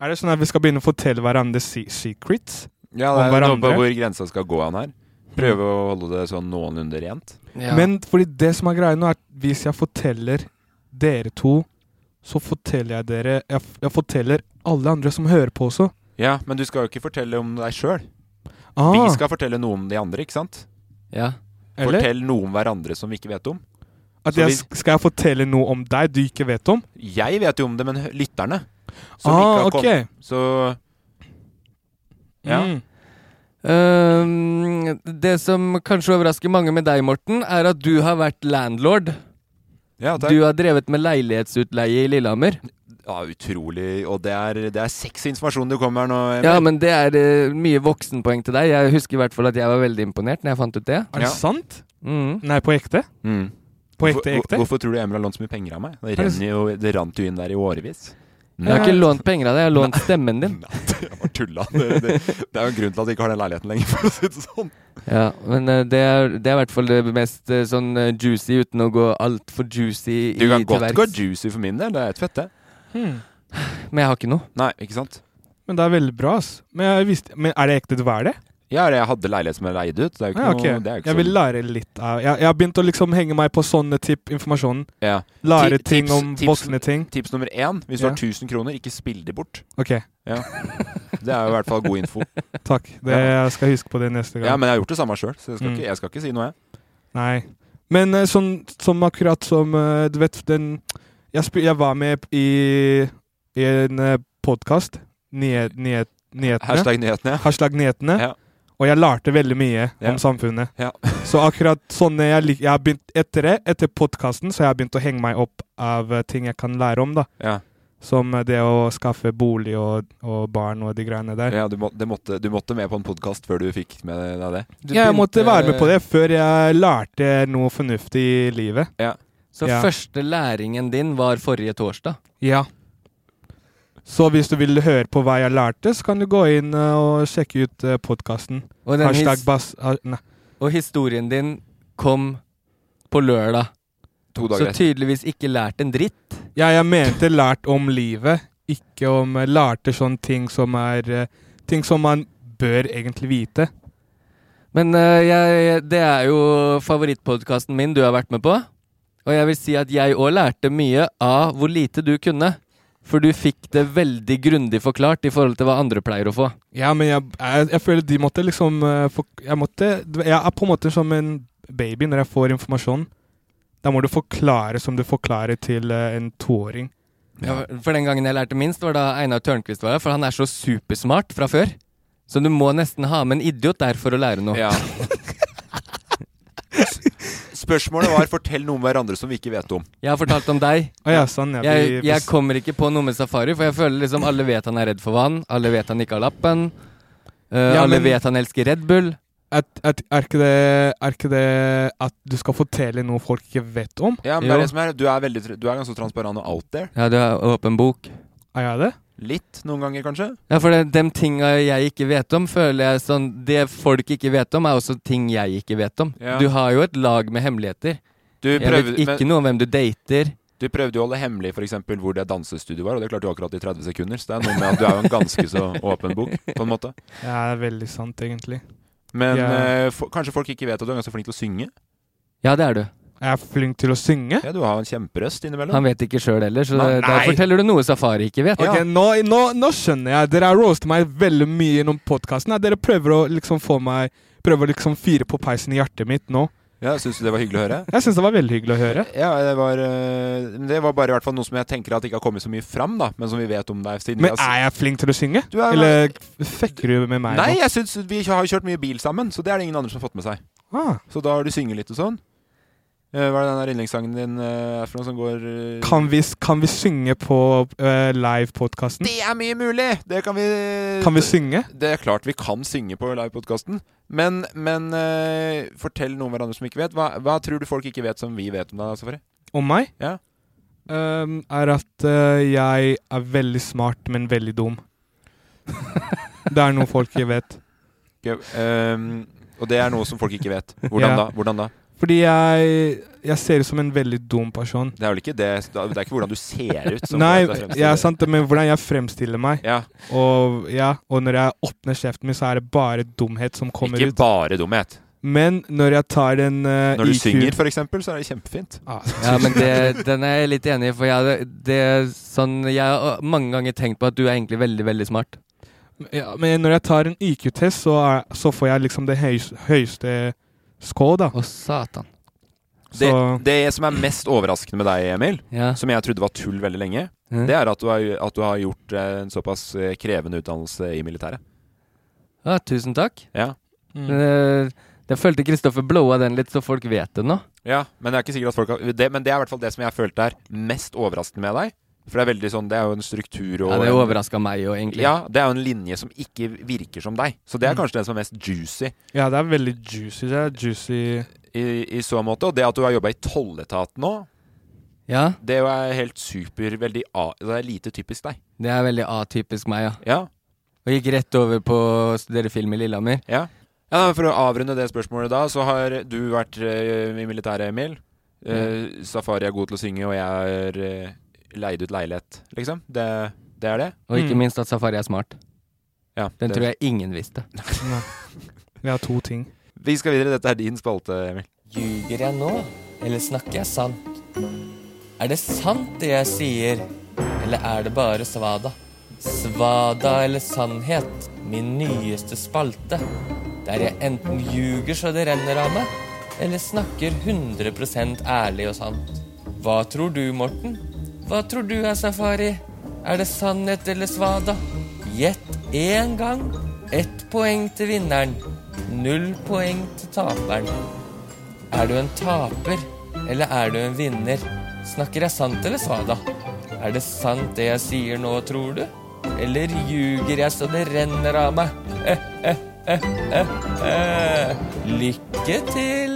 Speaker 1: Er det sånn at vi skal begynne å fortelle hverandre se secrets?
Speaker 3: Ja,
Speaker 1: Om
Speaker 3: det er noe
Speaker 1: hverandre.
Speaker 3: på hvor grensa skal gå an her. Prøve å holde det sånn noenlunde rent.
Speaker 2: Ja.
Speaker 1: Men fordi det som er greia nå, er at hvis jeg forteller dere to, så forteller jeg dere Jeg, f- jeg forteller alle andre som hører på også.
Speaker 3: Ja, men du skal jo ikke fortelle om deg sjøl.
Speaker 1: Ah,
Speaker 3: Vi skal fortelle noe om de andre, ikke sant?
Speaker 2: ja.
Speaker 1: eller?
Speaker 3: Fortell noe om hverandre som vi ikke vet om.
Speaker 1: At
Speaker 3: Så
Speaker 1: jeg,
Speaker 3: vi-
Speaker 1: sk- skal jeg fortelle noe om deg du ikke vet om?
Speaker 3: Jeg vet jo om det, men hø- lytterne som
Speaker 1: Ah,
Speaker 3: ikke har kommet.
Speaker 1: ok.
Speaker 3: Så Ja.
Speaker 1: Mm.
Speaker 2: Øhm, Ehm, det som kanskje overrasker mange med deg, Morten, er at du har vært landlord.
Speaker 3: ja, takk.
Speaker 2: Du har drevet med leilighetsutleie i Lillehammer.
Speaker 3: ja, utrolig. Og det er, det er sexy informasjon du kommer med her nå.
Speaker 2: Ja, men det er eh, mye voksenpoeng til deg. Jeg husker i hvert fall at jeg var veldig imponert når jeg fant ut det.
Speaker 1: Er det
Speaker 3: Ja.
Speaker 1: sant?
Speaker 2: Mm.
Speaker 1: Nei, på ekte?
Speaker 3: mm.
Speaker 1: På ekte,
Speaker 3: Hvor-
Speaker 1: ekte?
Speaker 3: Hvorfor tror du Emil har lånt så mye penger av meg? Det,
Speaker 1: Er det
Speaker 3: renner jo, det rant jo inn der i årevis.
Speaker 2: Jeg har ikke lånt penger av deg, jeg har lånt stemmen din.
Speaker 3: Nei, jeg bare tulla. Det, det, det er jo en grunn til at jeg ikke har den leiligheten lenger, for å si det sånn.
Speaker 2: Ja, men eh, det er, det er i hvert fall det mest eh, sånn eh, juicy, uten å gå altfor juicy i
Speaker 3: Du kan godt
Speaker 2: til
Speaker 3: gå
Speaker 2: verks.
Speaker 3: juicy for min del, det er et fett, det.
Speaker 2: Men jeg har ikke noe.
Speaker 3: Nei, ikke sant?
Speaker 1: Men det er veldig bra, ass. Men, jeg visste, men er det ekte du er det?
Speaker 3: Ja, jeg hadde leilighet som jeg leide ut. Det er jo ikke
Speaker 1: Ja, Ah, ok.
Speaker 3: noe det er jo ikke sånn
Speaker 1: Jeg vil lære litt av Jeg, jeg har begynt å liksom henge meg på sånne tipp informasjon.
Speaker 3: ja.
Speaker 1: Lære
Speaker 3: Ti-
Speaker 1: ting
Speaker 3: tips-
Speaker 1: om
Speaker 3: tips-
Speaker 1: voksne ting.
Speaker 3: Tips nummer én, hvis du
Speaker 1: Ja.
Speaker 3: har 1000 kroner, ikke spill de bort.
Speaker 1: Ok,
Speaker 3: Det er jo i hvert fall god info.
Speaker 1: takk. Det,
Speaker 3: Ja.
Speaker 1: jeg skal huske på det neste gang.
Speaker 3: Ja, men jeg har gjort det samme sjøl, så jeg skal,
Speaker 1: Mm.
Speaker 3: ikke, jeg skal ikke si noe, jeg.
Speaker 1: Nei. Men eh, sånn som akkurat som eh, Du vet den Jeg, sp jeg var med i, i en podkast. Nyhet, nyhet, nyhetene.
Speaker 3: Hashtag nyhetene. ja.
Speaker 1: Hashtag nyhetene.
Speaker 3: Ja.
Speaker 1: Og jeg lærte veldig mye
Speaker 3: Ja.
Speaker 1: om samfunnet.
Speaker 3: Ja.
Speaker 1: så akkurat sånne jeg, lik- jeg har begynt Etter det, etter podkasten, så jeg har begynt å henge meg opp av eh, ting jeg kan lære om. da.
Speaker 3: Ja,
Speaker 1: Som eh, det å skaffe bolig og, og barn og de greiene der.
Speaker 3: ja du, må, det måtte, du måtte med på en podkast før du fikk med deg det.
Speaker 2: Du
Speaker 1: jeg
Speaker 2: begynte-
Speaker 1: måtte være med på det før jeg lærte noe fornuftig i livet.
Speaker 2: Så
Speaker 1: Ja.
Speaker 2: første læringen din var forrige torsdag.
Speaker 1: Ja. Så hvis du vil høre på hva jeg lærte, så kan du gå inn eh, og sjekke ut podkasten.
Speaker 2: Og, den
Speaker 1: Hashtag
Speaker 2: his
Speaker 1: bass... ha- Nei.
Speaker 2: og historien din kom på lørdag. Så
Speaker 3: To dager etter.
Speaker 2: tydeligvis ikke lært en dritt.
Speaker 1: Ja, jeg mente lært om livet, ikke om eh, lærte sånne ting som er eh, Ting som man bør egentlig vite.
Speaker 2: Men eh, jeg, det er jo favorittpodkasten min du har vært med på. Og jeg vil si at jeg òg lærte mye av hvor lite du kunne. For du fikk det veldig grundig forklart i forhold til hva andre pleier å få.
Speaker 1: Ja, men jeg, jeg, jeg føler de måtte liksom eh, fork- Jeg måtte Jeg er på en måte som en baby når jeg får informasjon. Da må du forklare som du forklarer til eh, en toåring.
Speaker 2: Ja, for den gangen jeg lærte minst, var da Einar Tørnquist var her. For han er så supersmart fra før. Så du må nesten ha med en idiot der for å lære noe.
Speaker 3: Ja. Spørsmålet var 'fortell noe om hverandre som vi ikke vet om'.
Speaker 2: Jeg har fortalt om deg.
Speaker 1: Å ja, sånn. Ja,
Speaker 2: jeg,
Speaker 1: de-
Speaker 2: jeg kommer ikke på noe med safari, for jeg føler liksom alle vet han er redd for vann. Alle vet han ikke har lappen. eh,
Speaker 1: Ja,
Speaker 2: alle
Speaker 1: men-
Speaker 2: vet han elsker Red Bull.
Speaker 1: at, at, er, ikke det, er ikke det at du skal fortelle noe folk ikke vet om?
Speaker 3: Ja, men det er
Speaker 2: Jo.
Speaker 3: det som er, du, er veldig, tr- du er ganske transparent og out there.
Speaker 2: Ja, du har åpen bok.
Speaker 1: Er jeg det?
Speaker 3: Litt noen ganger, kanskje.
Speaker 2: Ja, for det, de tinga jeg ikke vet om, føler jeg sånn Det folk ikke vet om, er også ting jeg ikke vet om.
Speaker 3: Ja.
Speaker 2: Du har jo et lag med hemmeligheter.
Speaker 3: Du
Speaker 2: Jeg vet
Speaker 3: prøvde,
Speaker 2: ikke
Speaker 3: men,
Speaker 2: noe om hvem du dater.
Speaker 3: du prøvde jo å holde hemmelig for eksempel, hvor det dansestudioet var, og det klarte du akkurat i 30 sekunder. Så det er noe med at du er jo en ganske så åpen bok, på en måte.
Speaker 1: Ja, det er veldig sant, egentlig.
Speaker 3: Men
Speaker 1: Ja.
Speaker 3: eh, fo- kanskje folk ikke vet at du er ganske flink til å synge?
Speaker 2: Ja, det er du.
Speaker 1: Jeg er flink til å synge.
Speaker 3: Ja, Du har en kjemperøst innimellom.
Speaker 2: Han vet ikke sjøl heller, så
Speaker 3: Nei.
Speaker 2: der forteller du noe safari ikke vet.
Speaker 1: Ok, nå, nå, nå skjønner jeg. Dere har roastet meg veldig mye gjennom podkasten. Dere prøver å liksom få meg Prøver å liksom fyre på peisen i hjertet mitt nå.
Speaker 3: Ja, Syns du det var hyggelig å høre?
Speaker 1: Jeg syns det var veldig hyggelig å høre.
Speaker 3: Ja, det var, eh, men det var bare i hvert fall noe som jeg tenker at ikke har kommet så mye fram, da, men som vi vet om deg. Siden vi
Speaker 1: Men
Speaker 3: har s-
Speaker 1: er jeg flink til å synge?
Speaker 3: altså- Du er-
Speaker 1: Eller fucker du med meg
Speaker 3: Nei,
Speaker 1: nå?
Speaker 3: jeg synes vi har jo kjørt mye bil sammen, så det er det ingen andre som har fått med seg.
Speaker 1: Ah,
Speaker 3: Så da har du synget litt og sånn. Eh, Hva er det den der yndlingssangen din eh, er for noe som går eh,
Speaker 1: kan, vi, kan vi synge på eh, live-podkasten?
Speaker 3: Det er mye mulig! Det kan vi
Speaker 1: Kan vi synge?
Speaker 3: Det er klart vi kan synge på livepodkasten, men, men eh, fortell noe om hverandre som ikke vet. Hva, hva tror du folk ikke vet som vi vet om deg, Safari?
Speaker 1: Om meg?
Speaker 3: Ja.
Speaker 1: Ehm, er at eh, jeg er veldig smart, men veldig dum. det er noe folk ikke vet.
Speaker 3: Gøy. Ehm, og det er noe som folk ikke vet. Hvordan
Speaker 1: Ja.
Speaker 3: da? Hvordan da?
Speaker 1: Fordi jeg, jeg ser ut som en veldig dum person.
Speaker 3: Det er vel ikke det Det er ikke hvordan du ser ut. som
Speaker 1: Nei,
Speaker 3: folk fremstiller
Speaker 1: ja,
Speaker 3: det.
Speaker 1: sant, men hvordan jeg fremstiller meg.
Speaker 3: Ja,
Speaker 1: Og, ja, og når jeg åpner kjeften min, så er det bare dumhet som kommer
Speaker 3: ikke
Speaker 1: ut.
Speaker 3: bare dumhet.
Speaker 1: Men når jeg tar en eh,
Speaker 3: Når du
Speaker 1: IQ
Speaker 3: synger, for eksempel, så er det kjempefint.
Speaker 1: Ah,
Speaker 2: Ja, men det, den er jeg litt enig i, for jeg, hadde- det, er sånn, jeg har mange ganger tenkt på at du er egentlig veldig, veldig smart.
Speaker 1: ja, men når jeg tar en IQ-test, så, er- så får jeg liksom det høys, høyeste skå, da.
Speaker 2: Å, satan.
Speaker 3: Det,
Speaker 1: Så-
Speaker 3: det som er mest overraskende med deg, Emil,
Speaker 2: Ja.
Speaker 3: som jeg trodde var tull veldig lenge,
Speaker 2: Mm.
Speaker 3: det er at du har, at du har gjort eh, en såpass eh, krevende utdannelse i militæret.
Speaker 2: Ja, tusen takk.
Speaker 3: Ja.
Speaker 2: Eh, Jeg følte Kristoffer blowa den litt, så folk vet det nå.
Speaker 3: Ja, men det er ikke sikkert at folk har det, Men det er i hvert fall det som jeg følte er mest overraskende med deg. For det er veldig sånn, det er jo en struktur og
Speaker 2: Ja, det
Speaker 3: en-
Speaker 2: overraska meg jo, egentlig.
Speaker 3: Ja, det er jo en linje som ikke virker som deg. Så det
Speaker 2: Mm.
Speaker 3: er kanskje det som er mest juicy
Speaker 1: Ja, det er veldig juicy. Det er juicy
Speaker 3: i, i så måte. Og det at du har jobba i tolletaten nå,
Speaker 2: ja
Speaker 3: det er jo helt super veldig a, Det er lite typisk deg.
Speaker 2: det er veldig atypisk meg, ja.
Speaker 3: Ja.
Speaker 2: Og gikk rett over på å studere film i Lillehammer.
Speaker 3: ja. ja for å avrunde det spørsmålet da, så har du vært eh, i militæret, Emil. Eh, Safari er god til å synge, og jeg er eh, leid ut leilighet, liksom. Det, det er det.
Speaker 2: Og ikke
Speaker 1: Mm.
Speaker 2: minst at Safari er smart.
Speaker 3: Ja,
Speaker 2: Den
Speaker 3: det.
Speaker 2: tror jeg ingen visste.
Speaker 1: Vi har to ting.
Speaker 3: Vi skal videre. Dette er din spalte, Emil.
Speaker 2: Ljuger jeg nå, eller snakker jeg sant? Er det sant det jeg sier, eller er det bare svada? Svada eller sannhet, min nyeste spalte. Der jeg enten ljuger så det renner av meg, eller snakker 100 ærlig og sant. Hva tror du, Morten? Hva tror du er safari? Er det sannhet eller svada? Gjett én gang. Ett poeng til vinneren. Null poeng til taperen. Er du en taper, eller er du en vinner? Snakker jeg sant eller svada? Er det sant det jeg sier nå, tror du? Eller ljuger jeg så det renner av meg? Eh, eh, eh, eh, eh. Lykke til!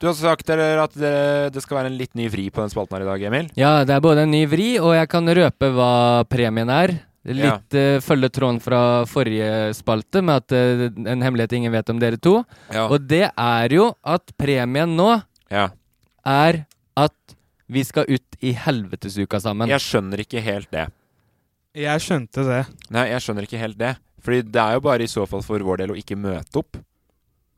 Speaker 3: Du har sagt dere at det, det skal være en litt ny vri på den spalten her i dag, Emil.
Speaker 2: Ja, det er både en ny vri, og jeg kan røpe hva premien er. Litt eh, følge tråden fra forrige spalte med at eh, en hemmelighet ingen vet om dere to.
Speaker 3: Ja.
Speaker 2: Og det er jo at premien nå
Speaker 3: ja.
Speaker 2: er at vi skal ut i helvetesuka sammen.
Speaker 3: Jeg skjønner ikke helt det.
Speaker 1: Jeg skjønte det.
Speaker 3: Nei, jeg skjønner ikke helt det. Fordi det er jo bare i så fall for vår del å ikke møte opp.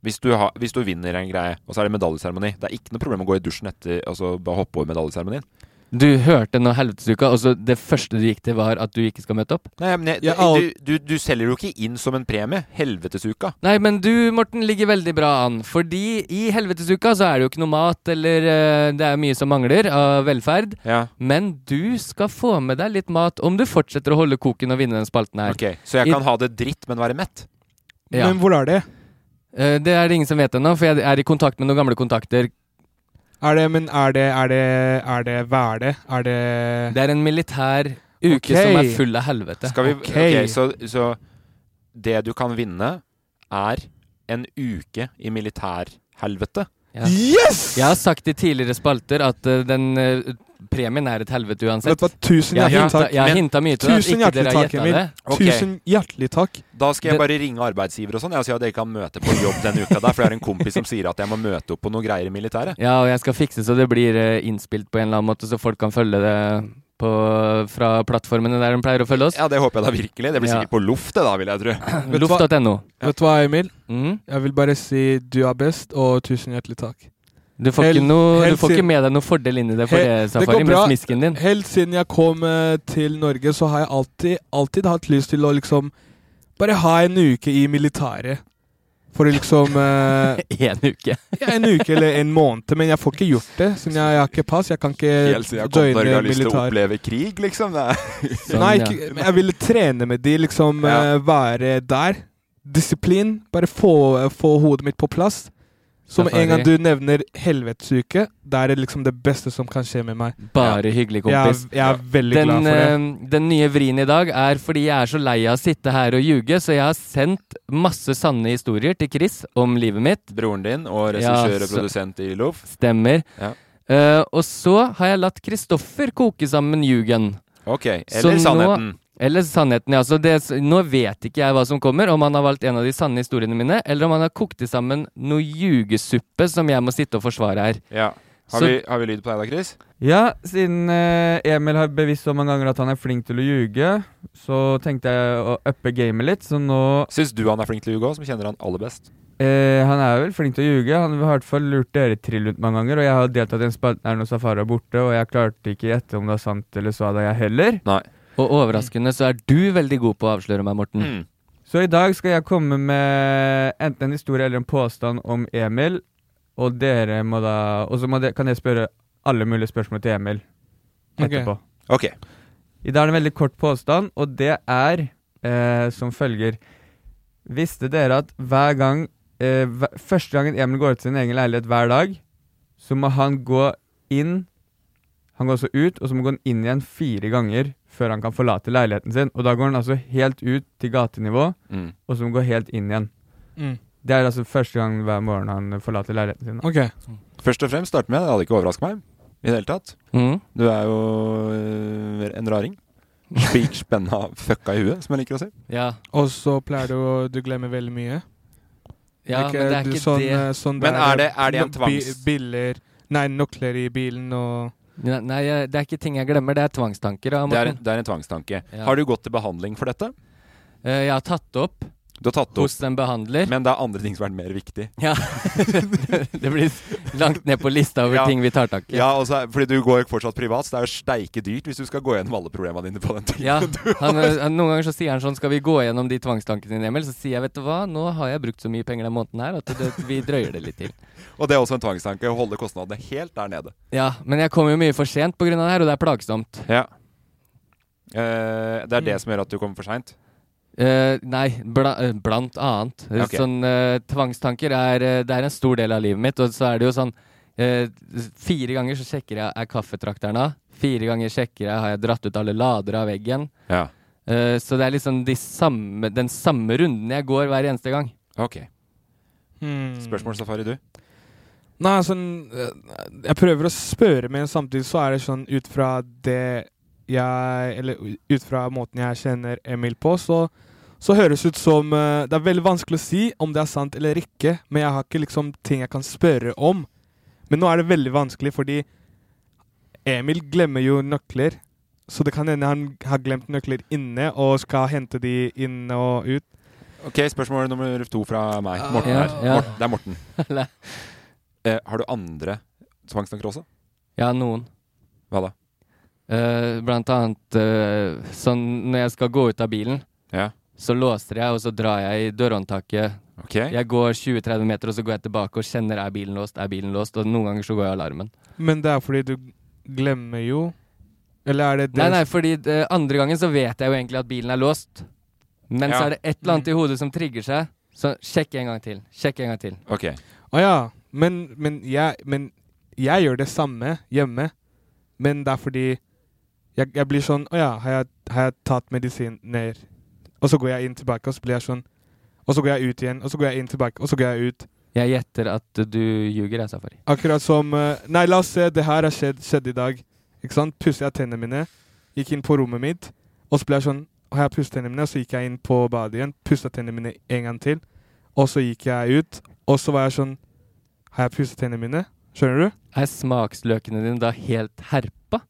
Speaker 3: Hvis du, har- hvis du vinner en greie, og så er det medaljeseremoni. Det er ikke noe problem å gå i dusjen etter Altså bare hoppe over medaljeseremonien.
Speaker 2: Du hørte nå helvetesuka, og så det første du gikk til, var at du ikke skal møte opp?
Speaker 3: Nei, men jeg,
Speaker 1: Jeg al-
Speaker 3: du, du, du selger jo ikke inn som en premie. Helvetesuka.
Speaker 2: Nei, men du, Morten, ligger veldig bra an. Fordi i helvetesuka så er det jo ikke noe mat, eller eh, det er mye som mangler av velferd.
Speaker 3: Ja.
Speaker 2: Men du skal få med deg litt mat om du fortsetter å holde koken og vinne den spalten her.
Speaker 3: Ok, Så jeg
Speaker 2: I-
Speaker 3: kan ha det dritt, men være mett?
Speaker 2: Ja.
Speaker 1: Men hvor er det?
Speaker 2: Eh, Det er det ingen som vet ennå, for jeg er i kontakt med noen gamle kontakter.
Speaker 1: Er det, men er det, er det, er det, hva er det? Er det
Speaker 2: Det er en militær uke
Speaker 1: Ok.
Speaker 2: som er full av helvete.
Speaker 3: Skal vi
Speaker 1: Ok.
Speaker 3: ok, så, så det du kan vinne, er en uke i militærhelvete?
Speaker 2: Ja.
Speaker 1: Yes!
Speaker 2: Jeg har sagt i tidligere spalter at eh, den eh, premien er et helvete
Speaker 1: Vet
Speaker 2: uansett.
Speaker 1: du hva, tusen
Speaker 2: Jeg har
Speaker 1: hjertelig
Speaker 2: hinta,
Speaker 1: takk.
Speaker 2: jeg har
Speaker 3: Men-
Speaker 2: hinta mye til det, at
Speaker 1: Tusen
Speaker 2: ikke dere
Speaker 1: hjertelig
Speaker 2: har
Speaker 1: takk,
Speaker 2: gjetta
Speaker 1: Emil.
Speaker 2: det.
Speaker 3: Ok.
Speaker 1: Tusen hjertelig takk.
Speaker 3: Da skal jeg
Speaker 2: Det-
Speaker 3: bare ringe arbeidsgiver og sånn Jeg og si at dere kan møte på jobb den uka der For jeg har en kompis som sier at jeg må møte opp på noen greier i militæret
Speaker 2: Ja, og jeg skal fikse så det blir eh, innspilt på en eller annen måte, så folk kan følge det på, fra plattformene der de pleier å følge oss.
Speaker 3: Ja, det håper jeg da virkelig Det blir
Speaker 2: Ja.
Speaker 3: sikkert på luft det da, vil jeg tro
Speaker 1: du hva?
Speaker 2: Loft.no.
Speaker 1: Vet du hva, Emil?
Speaker 2: Mm.
Speaker 1: Jeg vil bare si du er best, og tusen hjertelig takk.
Speaker 2: Du får,
Speaker 1: Helt-
Speaker 2: ikke, noe, du
Speaker 1: helt
Speaker 2: får
Speaker 1: siden-
Speaker 2: ikke med deg noe fordel inni det, for
Speaker 1: Helt-
Speaker 2: det,
Speaker 1: det går
Speaker 2: Safari, med
Speaker 1: bra.
Speaker 2: smisken din.
Speaker 1: Helt siden jeg kom eh, til Norge, så har jeg alltid, alltid hatt lyst til å liksom Bare ha en uke i militæret. For å liksom eh,
Speaker 2: Én uke.
Speaker 1: ja, En uke eller en måned, men jeg får ikke gjort det. Siden jeg, jeg har ikke pass. Jeg kan ikke
Speaker 2: Eh,
Speaker 3: Helt siden jeg kom til
Speaker 1: joine
Speaker 3: Norge har lyst til å
Speaker 1: militæret.
Speaker 3: oppleve krig liksom det. er-
Speaker 2: Sånn,
Speaker 1: Nei,
Speaker 2: ja.
Speaker 1: ikke, men jeg ville trene med de, liksom
Speaker 3: Ja.
Speaker 1: eh, være der. Disiplin. Bare få, få hodet mitt på plass. Så med en gang du
Speaker 2: Safari.
Speaker 1: nevner helvetesuke, det er det liksom det beste som kan skje med meg.
Speaker 2: Bare hyggelig,
Speaker 1: Jeg er,
Speaker 2: kompis.
Speaker 1: jeg er veldig
Speaker 2: Den,
Speaker 1: glad for det.
Speaker 2: eh, den nye vrien i dag er fordi jeg er så lei av å sitte her og ljuge, så jeg har sendt masse sanne historier til Chris om livet mitt.
Speaker 3: Broren din og
Speaker 2: Ja,
Speaker 3: regissør og
Speaker 2: så-
Speaker 3: produsent i LOF
Speaker 2: Stemmer.
Speaker 3: Ja.
Speaker 2: Eh, og så har jeg latt Kristoffer koke sammen ljugen.
Speaker 3: Ok,
Speaker 2: Så
Speaker 3: eller
Speaker 2: nå-
Speaker 3: sannheten
Speaker 2: Eller sannheten, ja. Så det, nå vet ikke jeg hva som kommer, om han har valgt en av de sanne historiene mine, eller om han har kokt det sammen noe ljugesuppe som jeg må sitte og forsvare her.
Speaker 3: ja. har,
Speaker 2: Så-
Speaker 3: vi, har vi lyd på deg da, Chris?
Speaker 6: Ja, siden eh, Emil har bevisst så mange ganger at han er flink til å ljuge, så tenkte jeg å uppe gamet litt, så nå
Speaker 3: Synes du han er flink til å ljuge også, som kjenner han aller best?
Speaker 6: eh, Han er vel flink til å ljuge. Han har i hvert fall lurt dere trill rundt mange ganger, og jeg har deltatt i en spalte der når Safari er borte, og jeg klarte ikke gjette om det var sant eller svada, jeg heller.
Speaker 3: Nei
Speaker 2: Og overraskende så er du veldig god på å avsløre meg, Morten.
Speaker 3: mm.
Speaker 6: Så i dag skal jeg komme med enten en historie eller en påstand om Emil, Og dere må da Og så må de, kan jeg spørre alle mulige spørsmål til Emil
Speaker 1: Ok.
Speaker 6: etterpå.
Speaker 3: Ok.
Speaker 6: I dag er det en veldig kort påstand, og det er eh, som følger Visste dere at hver gang eh, hver, Første gangen Emil går ut til sin egen leilighet hver dag, så må han gå inn Han går også ut, og så må han gå inn igjen fire ganger før han kan forlate leiligheten sin. Og da går han altså helt ut til gatenivå,
Speaker 3: Mm.
Speaker 6: og så må han gå helt inn igjen.
Speaker 1: Mm.
Speaker 6: Det er altså første gang hver morgen han forlater leiligheten sin. da.
Speaker 1: Ok.
Speaker 3: Først og fremst starte med, det hadde ikke overrasket meg i det hele tatt.
Speaker 2: Mm.
Speaker 3: Du er jo øh, en raring. Spik spenna fucka i huet, som jeg liker å si.
Speaker 2: Ja.
Speaker 1: Og så pleier du å Du glemmer veldig mye.
Speaker 2: ja, men det er
Speaker 1: du
Speaker 2: ikke
Speaker 1: sånn,
Speaker 2: det
Speaker 1: eh, Sånn
Speaker 3: Men
Speaker 1: der,
Speaker 3: er det- er det en
Speaker 1: no-
Speaker 3: tvangs-
Speaker 1: bi- Biller Nei, nøkler i bilen og
Speaker 2: Nei, Nei, jeg- det er ikke ting jeg glemmer, det er tvangstanker. da,
Speaker 3: Det er,
Speaker 2: Morten.
Speaker 3: en- det er en tvangstanke.
Speaker 2: Ja.
Speaker 3: Har du gått til behandling for dette?
Speaker 2: Eh, Jeg har tatt det opp
Speaker 3: Du har tatt det opp,
Speaker 2: hos en behandler.
Speaker 3: men det er andre ting som er mer viktig.
Speaker 2: Ja. det blir langt ned på lista over
Speaker 3: Ja.
Speaker 2: ting vi tar tak i.
Speaker 3: Ja, og så er- fordi du går jo fortsatt privat, så det er jo steike dyrt hvis du skal gå gjennom alle problemene dine på den tiden.
Speaker 2: Ja, han, han, Noen ganger så sier han sånn Skal vi gå gjennom de tvangstankene dine, Emil? Så sier jeg vet du hva, nå har jeg brukt så mye penger den måneden her at det, vi drøyer det litt til.
Speaker 3: Og det er også en tvangstanke, å holde kostnadene helt der nede.
Speaker 2: Ja, men jeg kommer jo mye for sent pga. det her, og det er plagsomt.
Speaker 3: Ja. Eh, det er
Speaker 2: Mm.
Speaker 3: det som gjør at du kommer for seint?
Speaker 2: Eh, nei, bla, eh, blant annet. Eh,
Speaker 3: Ok.
Speaker 2: Sånn eh, tvangstanker er, eh, det er en stor del av livet mitt, og så er det jo sånn eh, Fire ganger så sjekker jeg er kaffetrakteren av. Fire ganger sjekker jeg har jeg dratt ut alle ladere av veggen.
Speaker 3: Ja.
Speaker 2: Eh, så det er liksom de samme, den samme runden jeg går hver eneste gang.
Speaker 3: Ok.
Speaker 1: hmm.
Speaker 2: Mm.
Speaker 3: Spørsmål, Safari, du?
Speaker 1: Nei, sånn eh, Jeg prøver å spørre, men samtidig så er det sånn ut fra det jeg Eller ut fra måten jeg kjenner Emil på, så, så høres ut som eh, Det er veldig vanskelig å si om det er sant eller ikke, men jeg har ikke liksom ting jeg kan spørre om. Men nå er det veldig vanskelig, fordi Emil glemmer jo nøkler. Så det kan hende han har glemt nøkler inne og skal hente de inn og ut.
Speaker 3: Ok, spørsmål nummer to fra meg.
Speaker 1: Ah.
Speaker 3: Morten
Speaker 2: Ja,
Speaker 3: her.
Speaker 2: ja.
Speaker 3: Morten, det er Morten.
Speaker 2: Eller-
Speaker 3: Eh, har du andre tvangstanker også?
Speaker 2: ja, noen.
Speaker 3: Hva da?
Speaker 2: Eh, blant annet eh, sånn når jeg skal gå ut av bilen,
Speaker 3: Ja.
Speaker 2: så låser jeg, og så drar jeg i dørhåndtaket.
Speaker 3: Ok.
Speaker 2: Jeg går 20-30 meter, og så går jeg tilbake og kjenner er bilen låst, er bilen låst, og noen ganger så går jeg alarmen.
Speaker 1: Men det er fordi du glemmer jo Eller er det det
Speaker 2: Nei, nei, fordi eh, andre gangen så vet jeg jo egentlig at bilen er låst. Men
Speaker 3: Ja.
Speaker 2: så er det et eller annet i hodet som trigger seg. Så sjekk en gang til. Sjekk en gang til.
Speaker 3: Ok.
Speaker 1: Å ja. Men, men, jeg, men jeg gjør det samme hjemme. Men det er fordi jeg, jeg blir sånn Å ja, har jeg, har jeg tatt medisiner? Og så går jeg inn tilbake, og så blir jeg sånn Og så går jeg ut igjen, og så går jeg inn tilbake, og så går jeg ut.
Speaker 2: Jeg gjetter at du ljuger, jeg, Safari.
Speaker 1: Akkurat som eh, Nei, la oss se, det her har skjedd, skjedd i dag. Ikke sant? Pusser jeg tennene mine, gikk inn på rommet mitt, og så ble jeg sånn Har jeg pusset tennene mine? Og så gikk jeg inn på badet igjen, pusset tennene mine en gang til, og så gikk jeg ut, og så var jeg sånn Har jeg pusset tennene mine? Skjønner du?
Speaker 2: Er smaksløkene dine da helt herpa?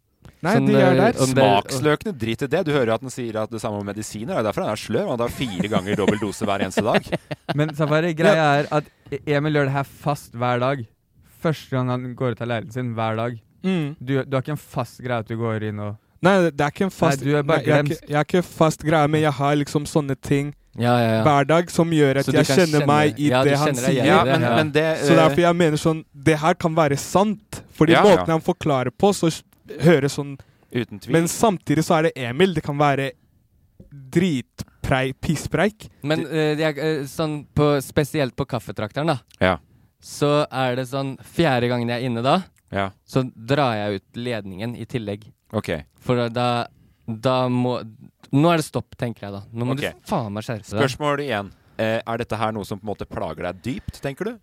Speaker 1: Nei,
Speaker 2: Sånn,
Speaker 1: de er
Speaker 2: eh,
Speaker 1: der.
Speaker 2: om det-
Speaker 3: Smaksløkene, drit i det. Du hører jo at den sier at det samme om medisiner. Det er derfor han er sløv. Han tar fire ganger dobbel dose hver eneste dag.
Speaker 6: Men Safari, greia er at E- Emil gjør det her fast hver dag. Første gang han går ut av leiligheten sin, hver dag.
Speaker 1: Mm.
Speaker 6: Du, du har ikke en fast greie at du går inn og
Speaker 1: Nei, det er ikke en fast
Speaker 6: Nei, du er bare
Speaker 1: jeg, er
Speaker 6: glemsk.
Speaker 1: ikke, jeg er ikke fast greie, men jeg har liksom sånne ting
Speaker 2: Ja, ja, ja.
Speaker 1: hver dag som gjør at
Speaker 2: Så du
Speaker 1: jeg
Speaker 2: kan
Speaker 1: kjenner
Speaker 2: kjenne-
Speaker 1: meg i
Speaker 2: ja, du
Speaker 1: det han
Speaker 2: kjenner deg
Speaker 1: sier.
Speaker 2: igjen i
Speaker 3: Ja,
Speaker 2: det,
Speaker 3: men,
Speaker 2: ja.
Speaker 3: men det
Speaker 1: Så
Speaker 3: eh,
Speaker 1: derfor jeg mener sånn Det her kan være sant. Fordi
Speaker 3: Ja,
Speaker 1: måten
Speaker 3: ja.
Speaker 1: han forklarer på, så s- høres sånn
Speaker 3: Uten tvil.
Speaker 1: Men samtidig så er det Emil. Det kan være dritpreik, pisspreik.
Speaker 2: Men eh, jeg, eh, sånn på, spesielt på kaffetrakteren, da.
Speaker 3: Ja.
Speaker 2: Så er det sånn fjerde gangen jeg er inne da,
Speaker 3: Ja,
Speaker 2: så drar jeg ut ledningen i tillegg.
Speaker 3: ok.
Speaker 2: For da, da må Nå er det stopp, tenker jeg da. Nå må
Speaker 3: Ok.
Speaker 2: du faen meg skjerpe deg.
Speaker 3: Spørsmål igjen. Eh, er dette her noe som på en måte plager deg dypt, tenker du?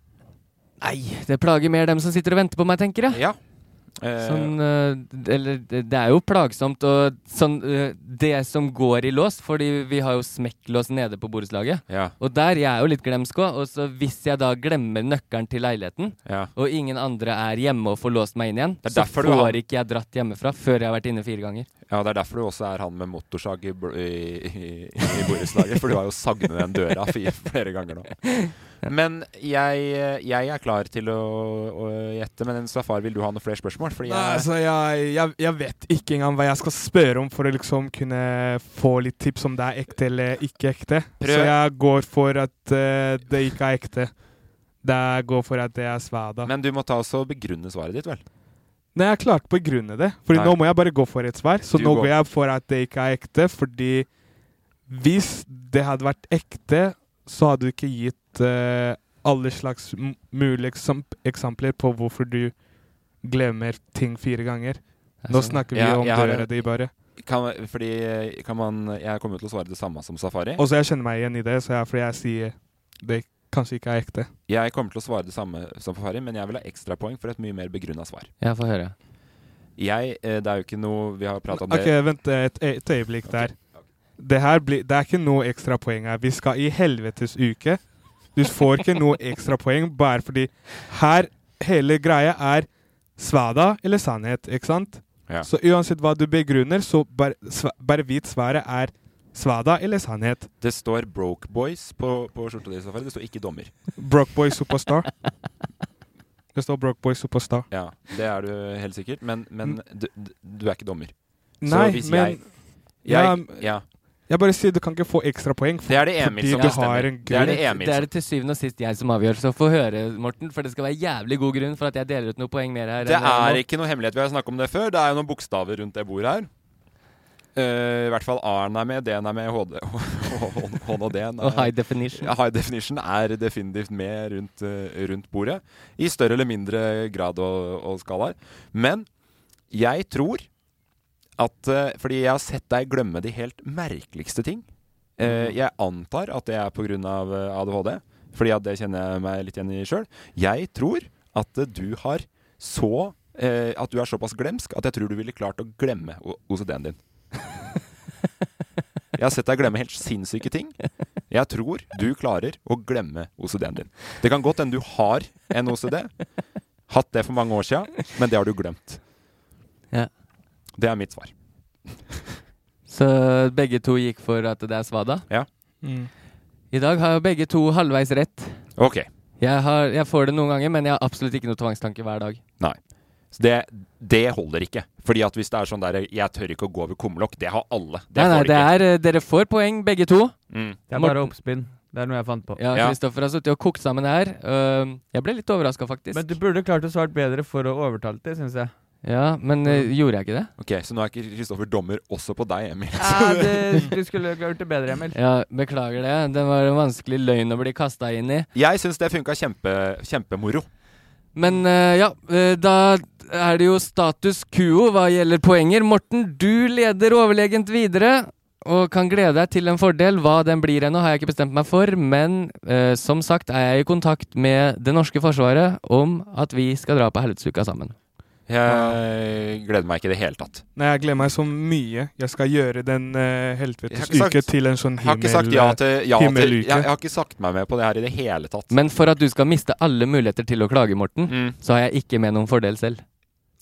Speaker 2: Nei, det plager mer dem som sitter og venter på meg, tenker jeg.
Speaker 3: Ja. Eh,
Speaker 2: Sånn, eh, eller det det er jo plagsomt og sånn eh, Det som går i lås, fordi vi har jo smekklås nede på borettslaget.
Speaker 3: Ja,
Speaker 2: Og der, jeg er jo litt glemsk òg, og så hvis jeg da glemmer nøkkelen til leiligheten,
Speaker 3: ja.
Speaker 2: og ingen andre er hjemme og får låst meg inn igjen,
Speaker 3: Det er
Speaker 2: så får
Speaker 3: derfor du har-
Speaker 2: ikke jeg dratt hjemmefra før jeg har vært inne fire ganger.
Speaker 3: Ja, det er derfor du også er han med motorsag i, bl- i, i, i borettslaget. For du har jo sagnet den døra fi- flere ganger nå. Men jeg, eh, jeg er klar til å, å gjette, men en safar, vil du ha noen flere spørsmål? Fordi
Speaker 1: Nei,
Speaker 3: jeg,
Speaker 1: altså, jeg, jeg, jeg vet ikke engang hva jeg skal spørre om for å liksom kunne få litt tips om det er ekte eller ikke ekte.
Speaker 3: Prøv.
Speaker 1: Så jeg går for at eh, det ikke er ekte. Det går for at det er svada.
Speaker 3: Men du må ta også begrunne svaret ditt, vel?
Speaker 1: Nei, jeg klarte på å begrunne det. Fordi
Speaker 3: Nei.
Speaker 1: nå må jeg bare gå for et svar. Så
Speaker 3: Du
Speaker 1: nå
Speaker 3: går-
Speaker 1: går jeg for at det ikke er ekte, fordi hvis det hadde vært ekte, så hadde du ikke gitt eh, alle slags m- mulige eksemp eksempler på hvorfor du glemmer ting fire ganger. Nå
Speaker 2: sånn-
Speaker 1: snakker vi
Speaker 3: Ja,
Speaker 1: om
Speaker 3: jeg har en-
Speaker 1: døra di, bare.
Speaker 3: Kan, fordi eh, kan man Jeg kommer til å svare det samme som Safari.
Speaker 1: Og så jeg kjenner meg igjen i det, så jeg, fordi jeg sier det kanskje ikke er ekte.
Speaker 3: Jeg kommer til å svare det samme som Safari, men jeg vil ha ekstrapoeng for et mye mer begrunna svar.
Speaker 2: Ja, få høre.
Speaker 3: Jeg, eh, det er jo ikke noe Vi har prata om
Speaker 1: Ok,
Speaker 3: det.
Speaker 1: vent eh, et, et øyeblikk der. Det her blir, det er ikke noe ekstrapoeng her. Vi skal i helvetes uke. Du får ikke noe ekstrapoeng bare fordi her hele greia er svada eller sannhet, ikke sant?
Speaker 3: Ja.
Speaker 1: Så uansett hva du begrunner, så bare, sva- bare vit svaret er svada eller sannhet.
Speaker 3: Det står 'Broke Boys' på, på skjorta di, Safari. Det står ikke 'dommer'.
Speaker 1: Brockboy Superstar. Det står Brockboy Superstar.
Speaker 3: Ja, Det er du helt sikkert, men, men
Speaker 1: Mm.
Speaker 3: du, du- du er ikke dommer.
Speaker 1: Nei,
Speaker 3: så hvis
Speaker 1: men ja,
Speaker 3: jeg, jeg ja,
Speaker 1: jeg bare sier du kan ikke få ekstrapoeng.
Speaker 3: Det er det Emil
Speaker 1: fordi
Speaker 3: som
Speaker 1: du
Speaker 3: bestemmer.
Speaker 1: har en
Speaker 3: Det er det
Speaker 1: grunn.
Speaker 3: Emil
Speaker 2: Det
Speaker 3: som-
Speaker 2: er det til syvende og sist jeg som avgjør, så få høre, Morten. For det skal være jævlig god grunn for at jeg deler ut noe poeng mer her.
Speaker 3: Det
Speaker 2: enn jeg
Speaker 3: er eh,
Speaker 2: må.
Speaker 3: ikke noe hemmelighet. Vi har snakket om det før. Det er jo noen bokstaver rundt det bordet her. Eh, I hvert fall A-en er med, D-en er med, HD H-en og D-en.
Speaker 2: Og high definition.
Speaker 3: Ja, high definition er definitivt med rundt, eh, rundt bordet. I større eller mindre grad og, og skalaer. Men jeg tror at eh, Fordi jeg har sett deg glemme de helt merkeligste ting. Eh, jeg antar at det er pga. ADHD, fordi at det kjenner jeg meg litt igjen i sjøl. Jeg tror at eh, du har så eh, At du er såpass glemsk at jeg tror du ville klart å glemme o- OCD-en din. Jeg har sett deg glemme helt sinnssyke ting. Jeg tror du klarer å glemme OCD-en din. Det kan godt hende du har en OCD. Hatt det for mange år siden, men det har du glemt.
Speaker 2: Ja.
Speaker 3: Det er mitt svar.
Speaker 2: Så begge to gikk for at det er svada.
Speaker 1: Mm.
Speaker 2: I dag har jo begge to halvveis rett.
Speaker 3: Ok.
Speaker 2: Jeg, har, jeg får det noen ganger, men jeg har absolutt ikke noe tvangstanke hver dag.
Speaker 3: Nei. Så det, det holder ikke. Fordi at hvis det er sånn der 'jeg tør ikke å gå over kumlokk', det har alle. Det
Speaker 2: nei, nei,
Speaker 3: får
Speaker 2: det
Speaker 3: ikke.
Speaker 2: er, eh, dere får poeng, begge to.
Speaker 3: Mm.
Speaker 6: Det er
Speaker 2: Morten-
Speaker 6: bare oppspinn. Det er noe jeg fant på.
Speaker 2: Ja,
Speaker 3: Ja.
Speaker 2: Kristoffer har sittet og kokt sammen her. Øhm, jeg ble litt overraska, faktisk.
Speaker 6: Men du burde klart å svare bedre for å overtale det, syns jeg.
Speaker 2: Ja, men eh, gjorde jeg ikke det?
Speaker 3: Ok, Så nå er ikke Kristoffer dommer også på deg, Emil.
Speaker 6: Ja, det, du skulle klart det bedre, Emil.
Speaker 2: Ja, Beklager det. Det var en vanskelig løgn å bli kasta inn i.
Speaker 3: Jeg syns det funka kjempe, kjempemoro.
Speaker 2: Men eh, ja, eh, da er det jo status quo hva gjelder poenger. Morten, du leder overlegent videre og kan glede deg til en fordel. Hva den blir ennå, har jeg ikke bestemt meg for, men eh, som sagt er jeg i kontakt med det norske forsvaret om at vi skal dra på helvetesuka sammen.
Speaker 3: Jeg gleder meg ikke i det hele tatt.
Speaker 1: Nei, jeg gleder meg så mye. Jeg skal gjøre den uh,
Speaker 3: Jeg har
Speaker 1: helvetes
Speaker 3: ikke
Speaker 1: uke
Speaker 3: sagt-
Speaker 1: til en sånn
Speaker 3: Jeg har ikke sagt
Speaker 1: himmel...
Speaker 3: ja
Speaker 2: eh,
Speaker 3: til, ja til
Speaker 1: himmeluke.
Speaker 3: jeg, jeg har ikke sagt meg med på det her i det hele tatt.
Speaker 2: Men for at du skal miste alle muligheter til å klage, Morten,
Speaker 3: mm.
Speaker 2: så har jeg ikke med noen fordel selv.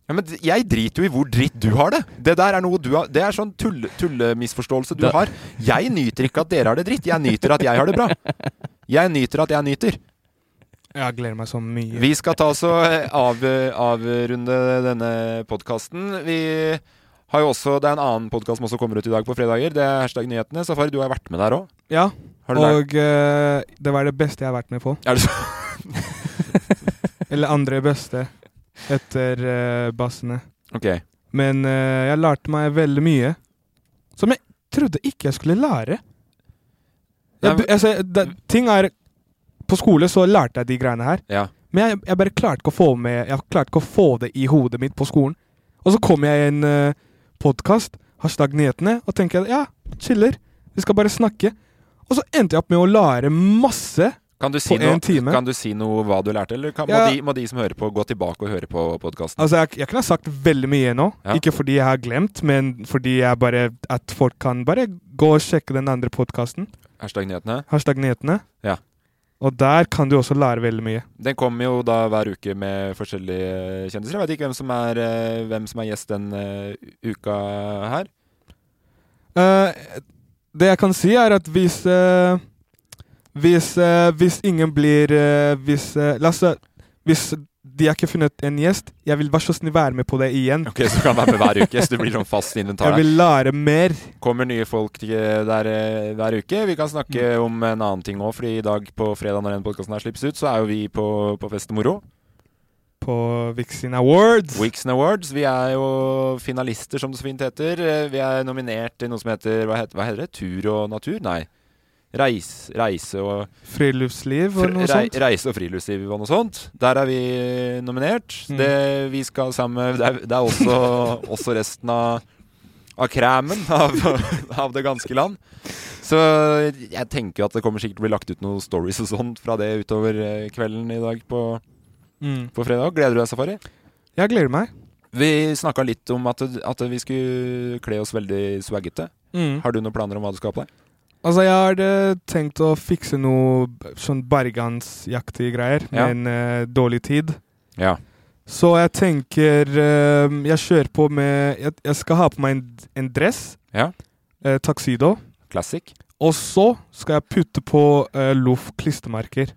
Speaker 3: Ja, men d- jeg driter jo i hvor dritt du har det. Det der er noe du har Det er sånn tulle, tullemisforståelse du
Speaker 2: Da-
Speaker 3: har. Jeg nyter ikke at dere har det dritt. Jeg nyter at jeg har det bra. Jeg nyter at jeg nyter.
Speaker 1: Jeg gleder meg så mye.
Speaker 3: Vi skal ta oss og eh, av, avrunde denne podkasten. Vi har jo også Det er en annen podkast som også kommer ut i dag på fredager. Det er Hashtag nyhetene. Safari, du har vært med der òg.
Speaker 1: ja,
Speaker 3: Har du lært?
Speaker 1: og eh, det var det beste jeg har vært med på.
Speaker 3: Er det så?
Speaker 1: Eller andre beste etter eh, bassene.
Speaker 3: Ok.
Speaker 1: Men eh, jeg lærte meg veldig mye som jeg trodde ikke jeg skulle lære.
Speaker 3: Nei,
Speaker 1: Jeg,
Speaker 3: men-
Speaker 1: bu- altså, det, ting er På skole så lærte jeg de greiene her,
Speaker 3: Ja.
Speaker 1: men jeg, jeg bare klarte ikke å få med Jeg klarte ikke å få det i hodet mitt på skolen. Og så kom jeg i en uh, podkast, hashtag nyhetene, og tenker jeg, ja, chiller. Vi skal bare snakke. Og så endte jeg opp med å lære masse
Speaker 3: Kan du, si
Speaker 1: På
Speaker 3: noe,
Speaker 1: en time.
Speaker 3: kan du si noe hva du lærte, eller kan,
Speaker 1: Ja.
Speaker 3: må, de, må de som hører på, gå tilbake og høre på podkasten?
Speaker 1: Altså, jeg, jeg kunne ha sagt veldig mye nå.
Speaker 3: Ja.
Speaker 1: Ikke fordi jeg har glemt, men fordi jeg bare at folk kan bare gå og sjekke den andre podkasten,
Speaker 3: Hashtag nyhetene.
Speaker 1: hashtag nyhetene.
Speaker 3: Ja.
Speaker 1: Og der kan du også lære veldig mye.
Speaker 3: Den kommer jo da hver uke med forskjellige kjendiser. Jeg veit ikke hvem som er, eh, hvem som er gjest den eh, uka her.
Speaker 1: Eh, det jeg kan si, er at hvis eh, hvis, eh, hvis ingen blir eh, Hvis eh, La oss si- Hvis de har ikke funnet en gjest. Jeg vil være så snill være med på det igjen.
Speaker 3: Ok, Så du kan være med hver uke, så du blir sånn fast
Speaker 1: Jeg
Speaker 3: inventar.
Speaker 1: vil lære mer.
Speaker 3: Kommer nye folk til- der eh, hver uke. Vi kan snakke
Speaker 1: Mm.
Speaker 3: om en annen ting òg, fordi i dag på fredag når den podkasten her slippes ut, så er jo vi på, på fest og moro.
Speaker 1: På Vixen Awards.
Speaker 3: Weeksen Awards. Vi er jo finalister, som det så fint heter. Eh, Vi er nominert til noe som heter Hva heter, hva heter det? Tur og natur? Nei. Reis, reise og
Speaker 1: Friluftsliv og noe
Speaker 3: Rei-
Speaker 1: sånt.
Speaker 3: Reise og friluftsliv og noe sånt. Der er vi nominert.
Speaker 1: Mm.
Speaker 3: Det, vi skal sammen med Det er, det er også, også resten av, av kræmen av, av det ganske land. Så jeg tenker jo at det kommer sikkert til å bli lagt ut noen stories og sånt fra det utover eh, kvelden i dag på,
Speaker 1: Mm.
Speaker 3: på fredag. Gleder du deg, Safari?
Speaker 1: Jeg gleder meg.
Speaker 3: Vi snakka litt om at, at vi skulle kle oss veldig swaggete.
Speaker 1: Mm.
Speaker 3: Har du noen planer om hva du skal ha på deg?
Speaker 1: Altså, jeg hadde tenkt å fikse noe b- sånn bergansjaktige greier,
Speaker 3: Ja.
Speaker 1: men eh, dårlig tid.
Speaker 3: Ja.
Speaker 1: Så jeg tenker eh, Jeg kjører på med Jeg, jeg skal ha på meg en, en dress.
Speaker 3: Ja.
Speaker 1: Eh, tuxedo.
Speaker 3: Classic.
Speaker 1: Og så skal jeg putte på eh, loff klistremerker.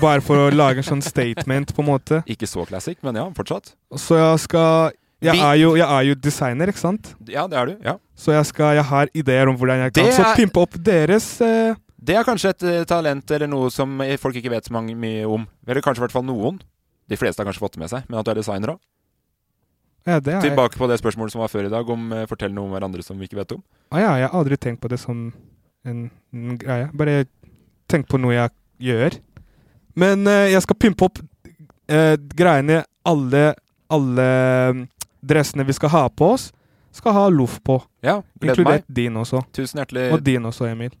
Speaker 1: Bare for å lage en sånn statement, på en måte.
Speaker 3: Ikke så classic, men ja, fortsatt.
Speaker 1: Så jeg skal Jeg
Speaker 3: Vi-
Speaker 1: er jo, jeg er jo designer, ikke sant?
Speaker 3: Ja, det er du. Ja.
Speaker 1: Så jeg, skal, jeg har ideer om hvordan jeg kan
Speaker 3: Det
Speaker 1: så
Speaker 3: er-
Speaker 1: pimpe opp deres eh,
Speaker 3: Det er kanskje et eh, talent eller noe som eh, folk ikke vet så mange, mye om. Eller kanskje i hvert fall noen. De fleste har kanskje fått det med seg, men at du er designer òg.
Speaker 1: ja, det er,
Speaker 3: Tilbake på det spørsmålet som var før i dag, om eh, fortell noe om hverandre som vi ikke vet om.
Speaker 1: Ah, ja, jeg har aldri tenkt på det som en, en greie. Bare tenk på noe jeg gjør. Men eh, jeg skal pimpe opp eh, greiene alle, alle mm, dressene vi skal ha på oss, skal ha loff på.
Speaker 3: Ja, gleder meg. Eh,
Speaker 1: Inkludert din også.
Speaker 3: Tusen hjertelig,
Speaker 1: Og din også, Emil.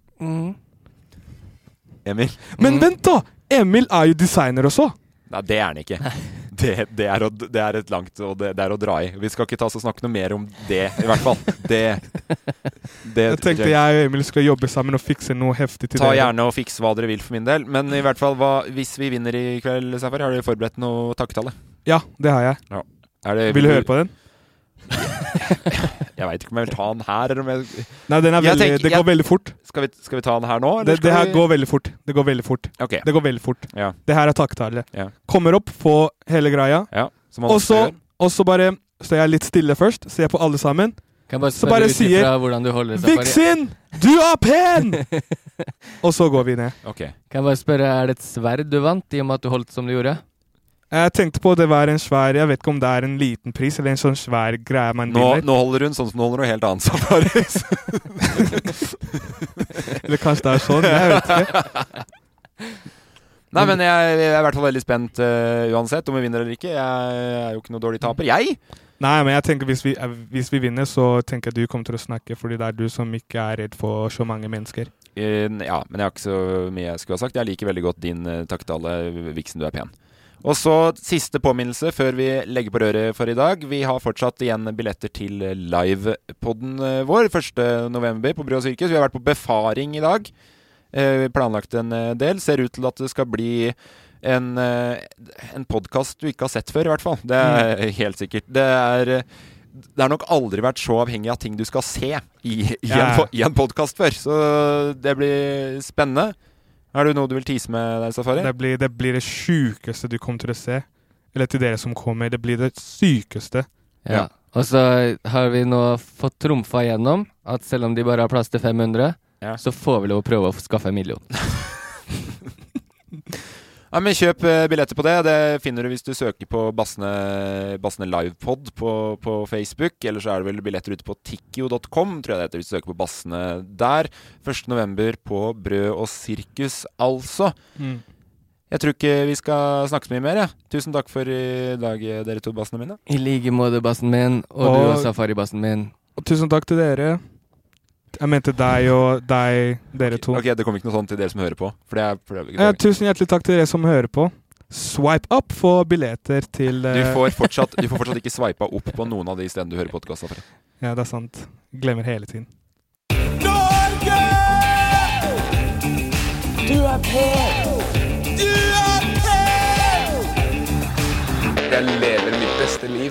Speaker 3: Emil.
Speaker 1: Men
Speaker 2: Mm.
Speaker 1: vent, da! Emil er jo designer også.
Speaker 3: Nei, det er han ikke. Det, det, er å, det er et langt og det, det er å dra i. Vi skal ikke ta oss og snakke noe mer om det, i hvert fall. Det, det
Speaker 1: Jeg tenkte jeg og Emil skulle jobbe sammen og fikse noe heftig til
Speaker 3: Ta
Speaker 1: dere.
Speaker 3: gjerne og fiks hva dere vil for min del. Men i hvert fall, hva, hvis vi vinner i kveld, Safari, har dere forberedt noe takketale?
Speaker 1: Ja, det har jeg.
Speaker 3: Er det-
Speaker 1: Vil du høre på den?
Speaker 3: Jeg veit ikke om jeg vil ta den her, eller om jeg
Speaker 1: Nei, den er
Speaker 3: Jeg
Speaker 1: veldig,
Speaker 3: tenker-
Speaker 1: det går veldig fort.
Speaker 3: Skal vi, skal vi ta den her nå? eller
Speaker 1: Det,
Speaker 3: skal
Speaker 1: det her
Speaker 3: vi...
Speaker 1: går veldig fort. Det går veldig fort.
Speaker 3: Ok,
Speaker 1: Det går veldig fort.
Speaker 3: Ja.
Speaker 1: Det her er takketale.
Speaker 3: Ja.
Speaker 1: Kommer opp, få hele greia,
Speaker 3: ja. Som man
Speaker 1: og
Speaker 3: også
Speaker 1: så
Speaker 3: gjør.
Speaker 1: og så bare står jeg litt stille først, ser på alle sammen.
Speaker 2: Kan jeg bare
Speaker 1: Så
Speaker 2: spørre
Speaker 1: bare
Speaker 2: ut ifra
Speaker 1: sier-
Speaker 2: hvordan du holder det, Safari?
Speaker 1: Vixen, du er pen! og så går vi ned.
Speaker 3: Ok.
Speaker 2: Kan jeg bare spørre, er det et sverd du vant, i og med at du holdt som du gjorde?
Speaker 1: Jeg tenkte på det var en svær Jeg vet ikke om det er en liten pris eller en sånn svær greie man
Speaker 3: Nå,
Speaker 1: vinner.
Speaker 3: nå holder hun sånn som hun holder noe helt annet, Safari.
Speaker 1: Eller kanskje det er sånn. Jeg vet ikke.
Speaker 3: Nei, men jeg, jeg er i hvert fall veldig spent eh, uansett om vi vinner eller ikke. Jeg er jo ikke noe dårlig taper. Jeg!
Speaker 1: Nei, men jeg tenker hvis vi, eh, hvis vi vinner, så tenker jeg du kommer til å snakke, fordi det er du som ikke er redd for så mange mennesker.
Speaker 3: Eh, n- ja, men jeg har ikke så mye jeg skulle ha sagt. Jeg liker veldig godt din uh, takketale, Vixen, du er pen. Og så siste påminnelse før vi legger på røret for i dag. Vi har fortsatt igjen billetter til eh, livepodden eh, vår 1.11. på Brød og Sirkus. Vi har vært på befaring i dag. Eh, planlagt en eh, del. Ser ut til at det skal bli en, eh, en podkast du ikke har sett før, i hvert fall. Det er helt sikkert. Det er eh, det har nok aldri vært så avhengig av ting du skal se i, i en,
Speaker 1: Ja.
Speaker 3: po- i en podkast før. Så det blir spennende. Er det noe du vil tease med der, Safari?
Speaker 1: Det blir det, blir det sjukeste du kommer til å se. Eller til dere som kommer. Det blir det sykeste.
Speaker 2: Ja.
Speaker 3: Ja.
Speaker 2: Og så har vi nå fått trumfa igjennom at selv om de bare har plass til 500,
Speaker 3: Ja.
Speaker 2: så får vi lov å prøve å skaffe en million.
Speaker 3: Ja, men Kjøp eh, billetter på det. Det finner du hvis du søker på Bassene, Bassene Livepod på, på Facebook. Eller så er det vel billetter ute på tikkio.com, tror jeg det heter, hvis du søker på Bassene der. 1.11. på Brød og sirkus, altså. Jeg tror ikke vi skal snakke så mye mer. jeg. Tusen takk for i dag, eh, dere to bassene mine.
Speaker 2: I like måte, bassen min, og, du og
Speaker 1: Og-
Speaker 2: safaribassen min.
Speaker 1: Og tusen takk til dere. Jeg mente deg og deg, dere to.
Speaker 3: Ok, Det kom ikke noe sånt til dere som hører på. For det er, for det er-
Speaker 1: Eh, tusen hjertelig takk til dere som hører på. Swipe up for billetter til
Speaker 3: du,
Speaker 1: eh,
Speaker 3: får fortsatt, du får fortsatt ikke sveipa opp på noen av de stedene du hører podkast.
Speaker 1: Ja, det er sant. Glemmer hele tiden.
Speaker 4: Jeg lever mitt beste liv.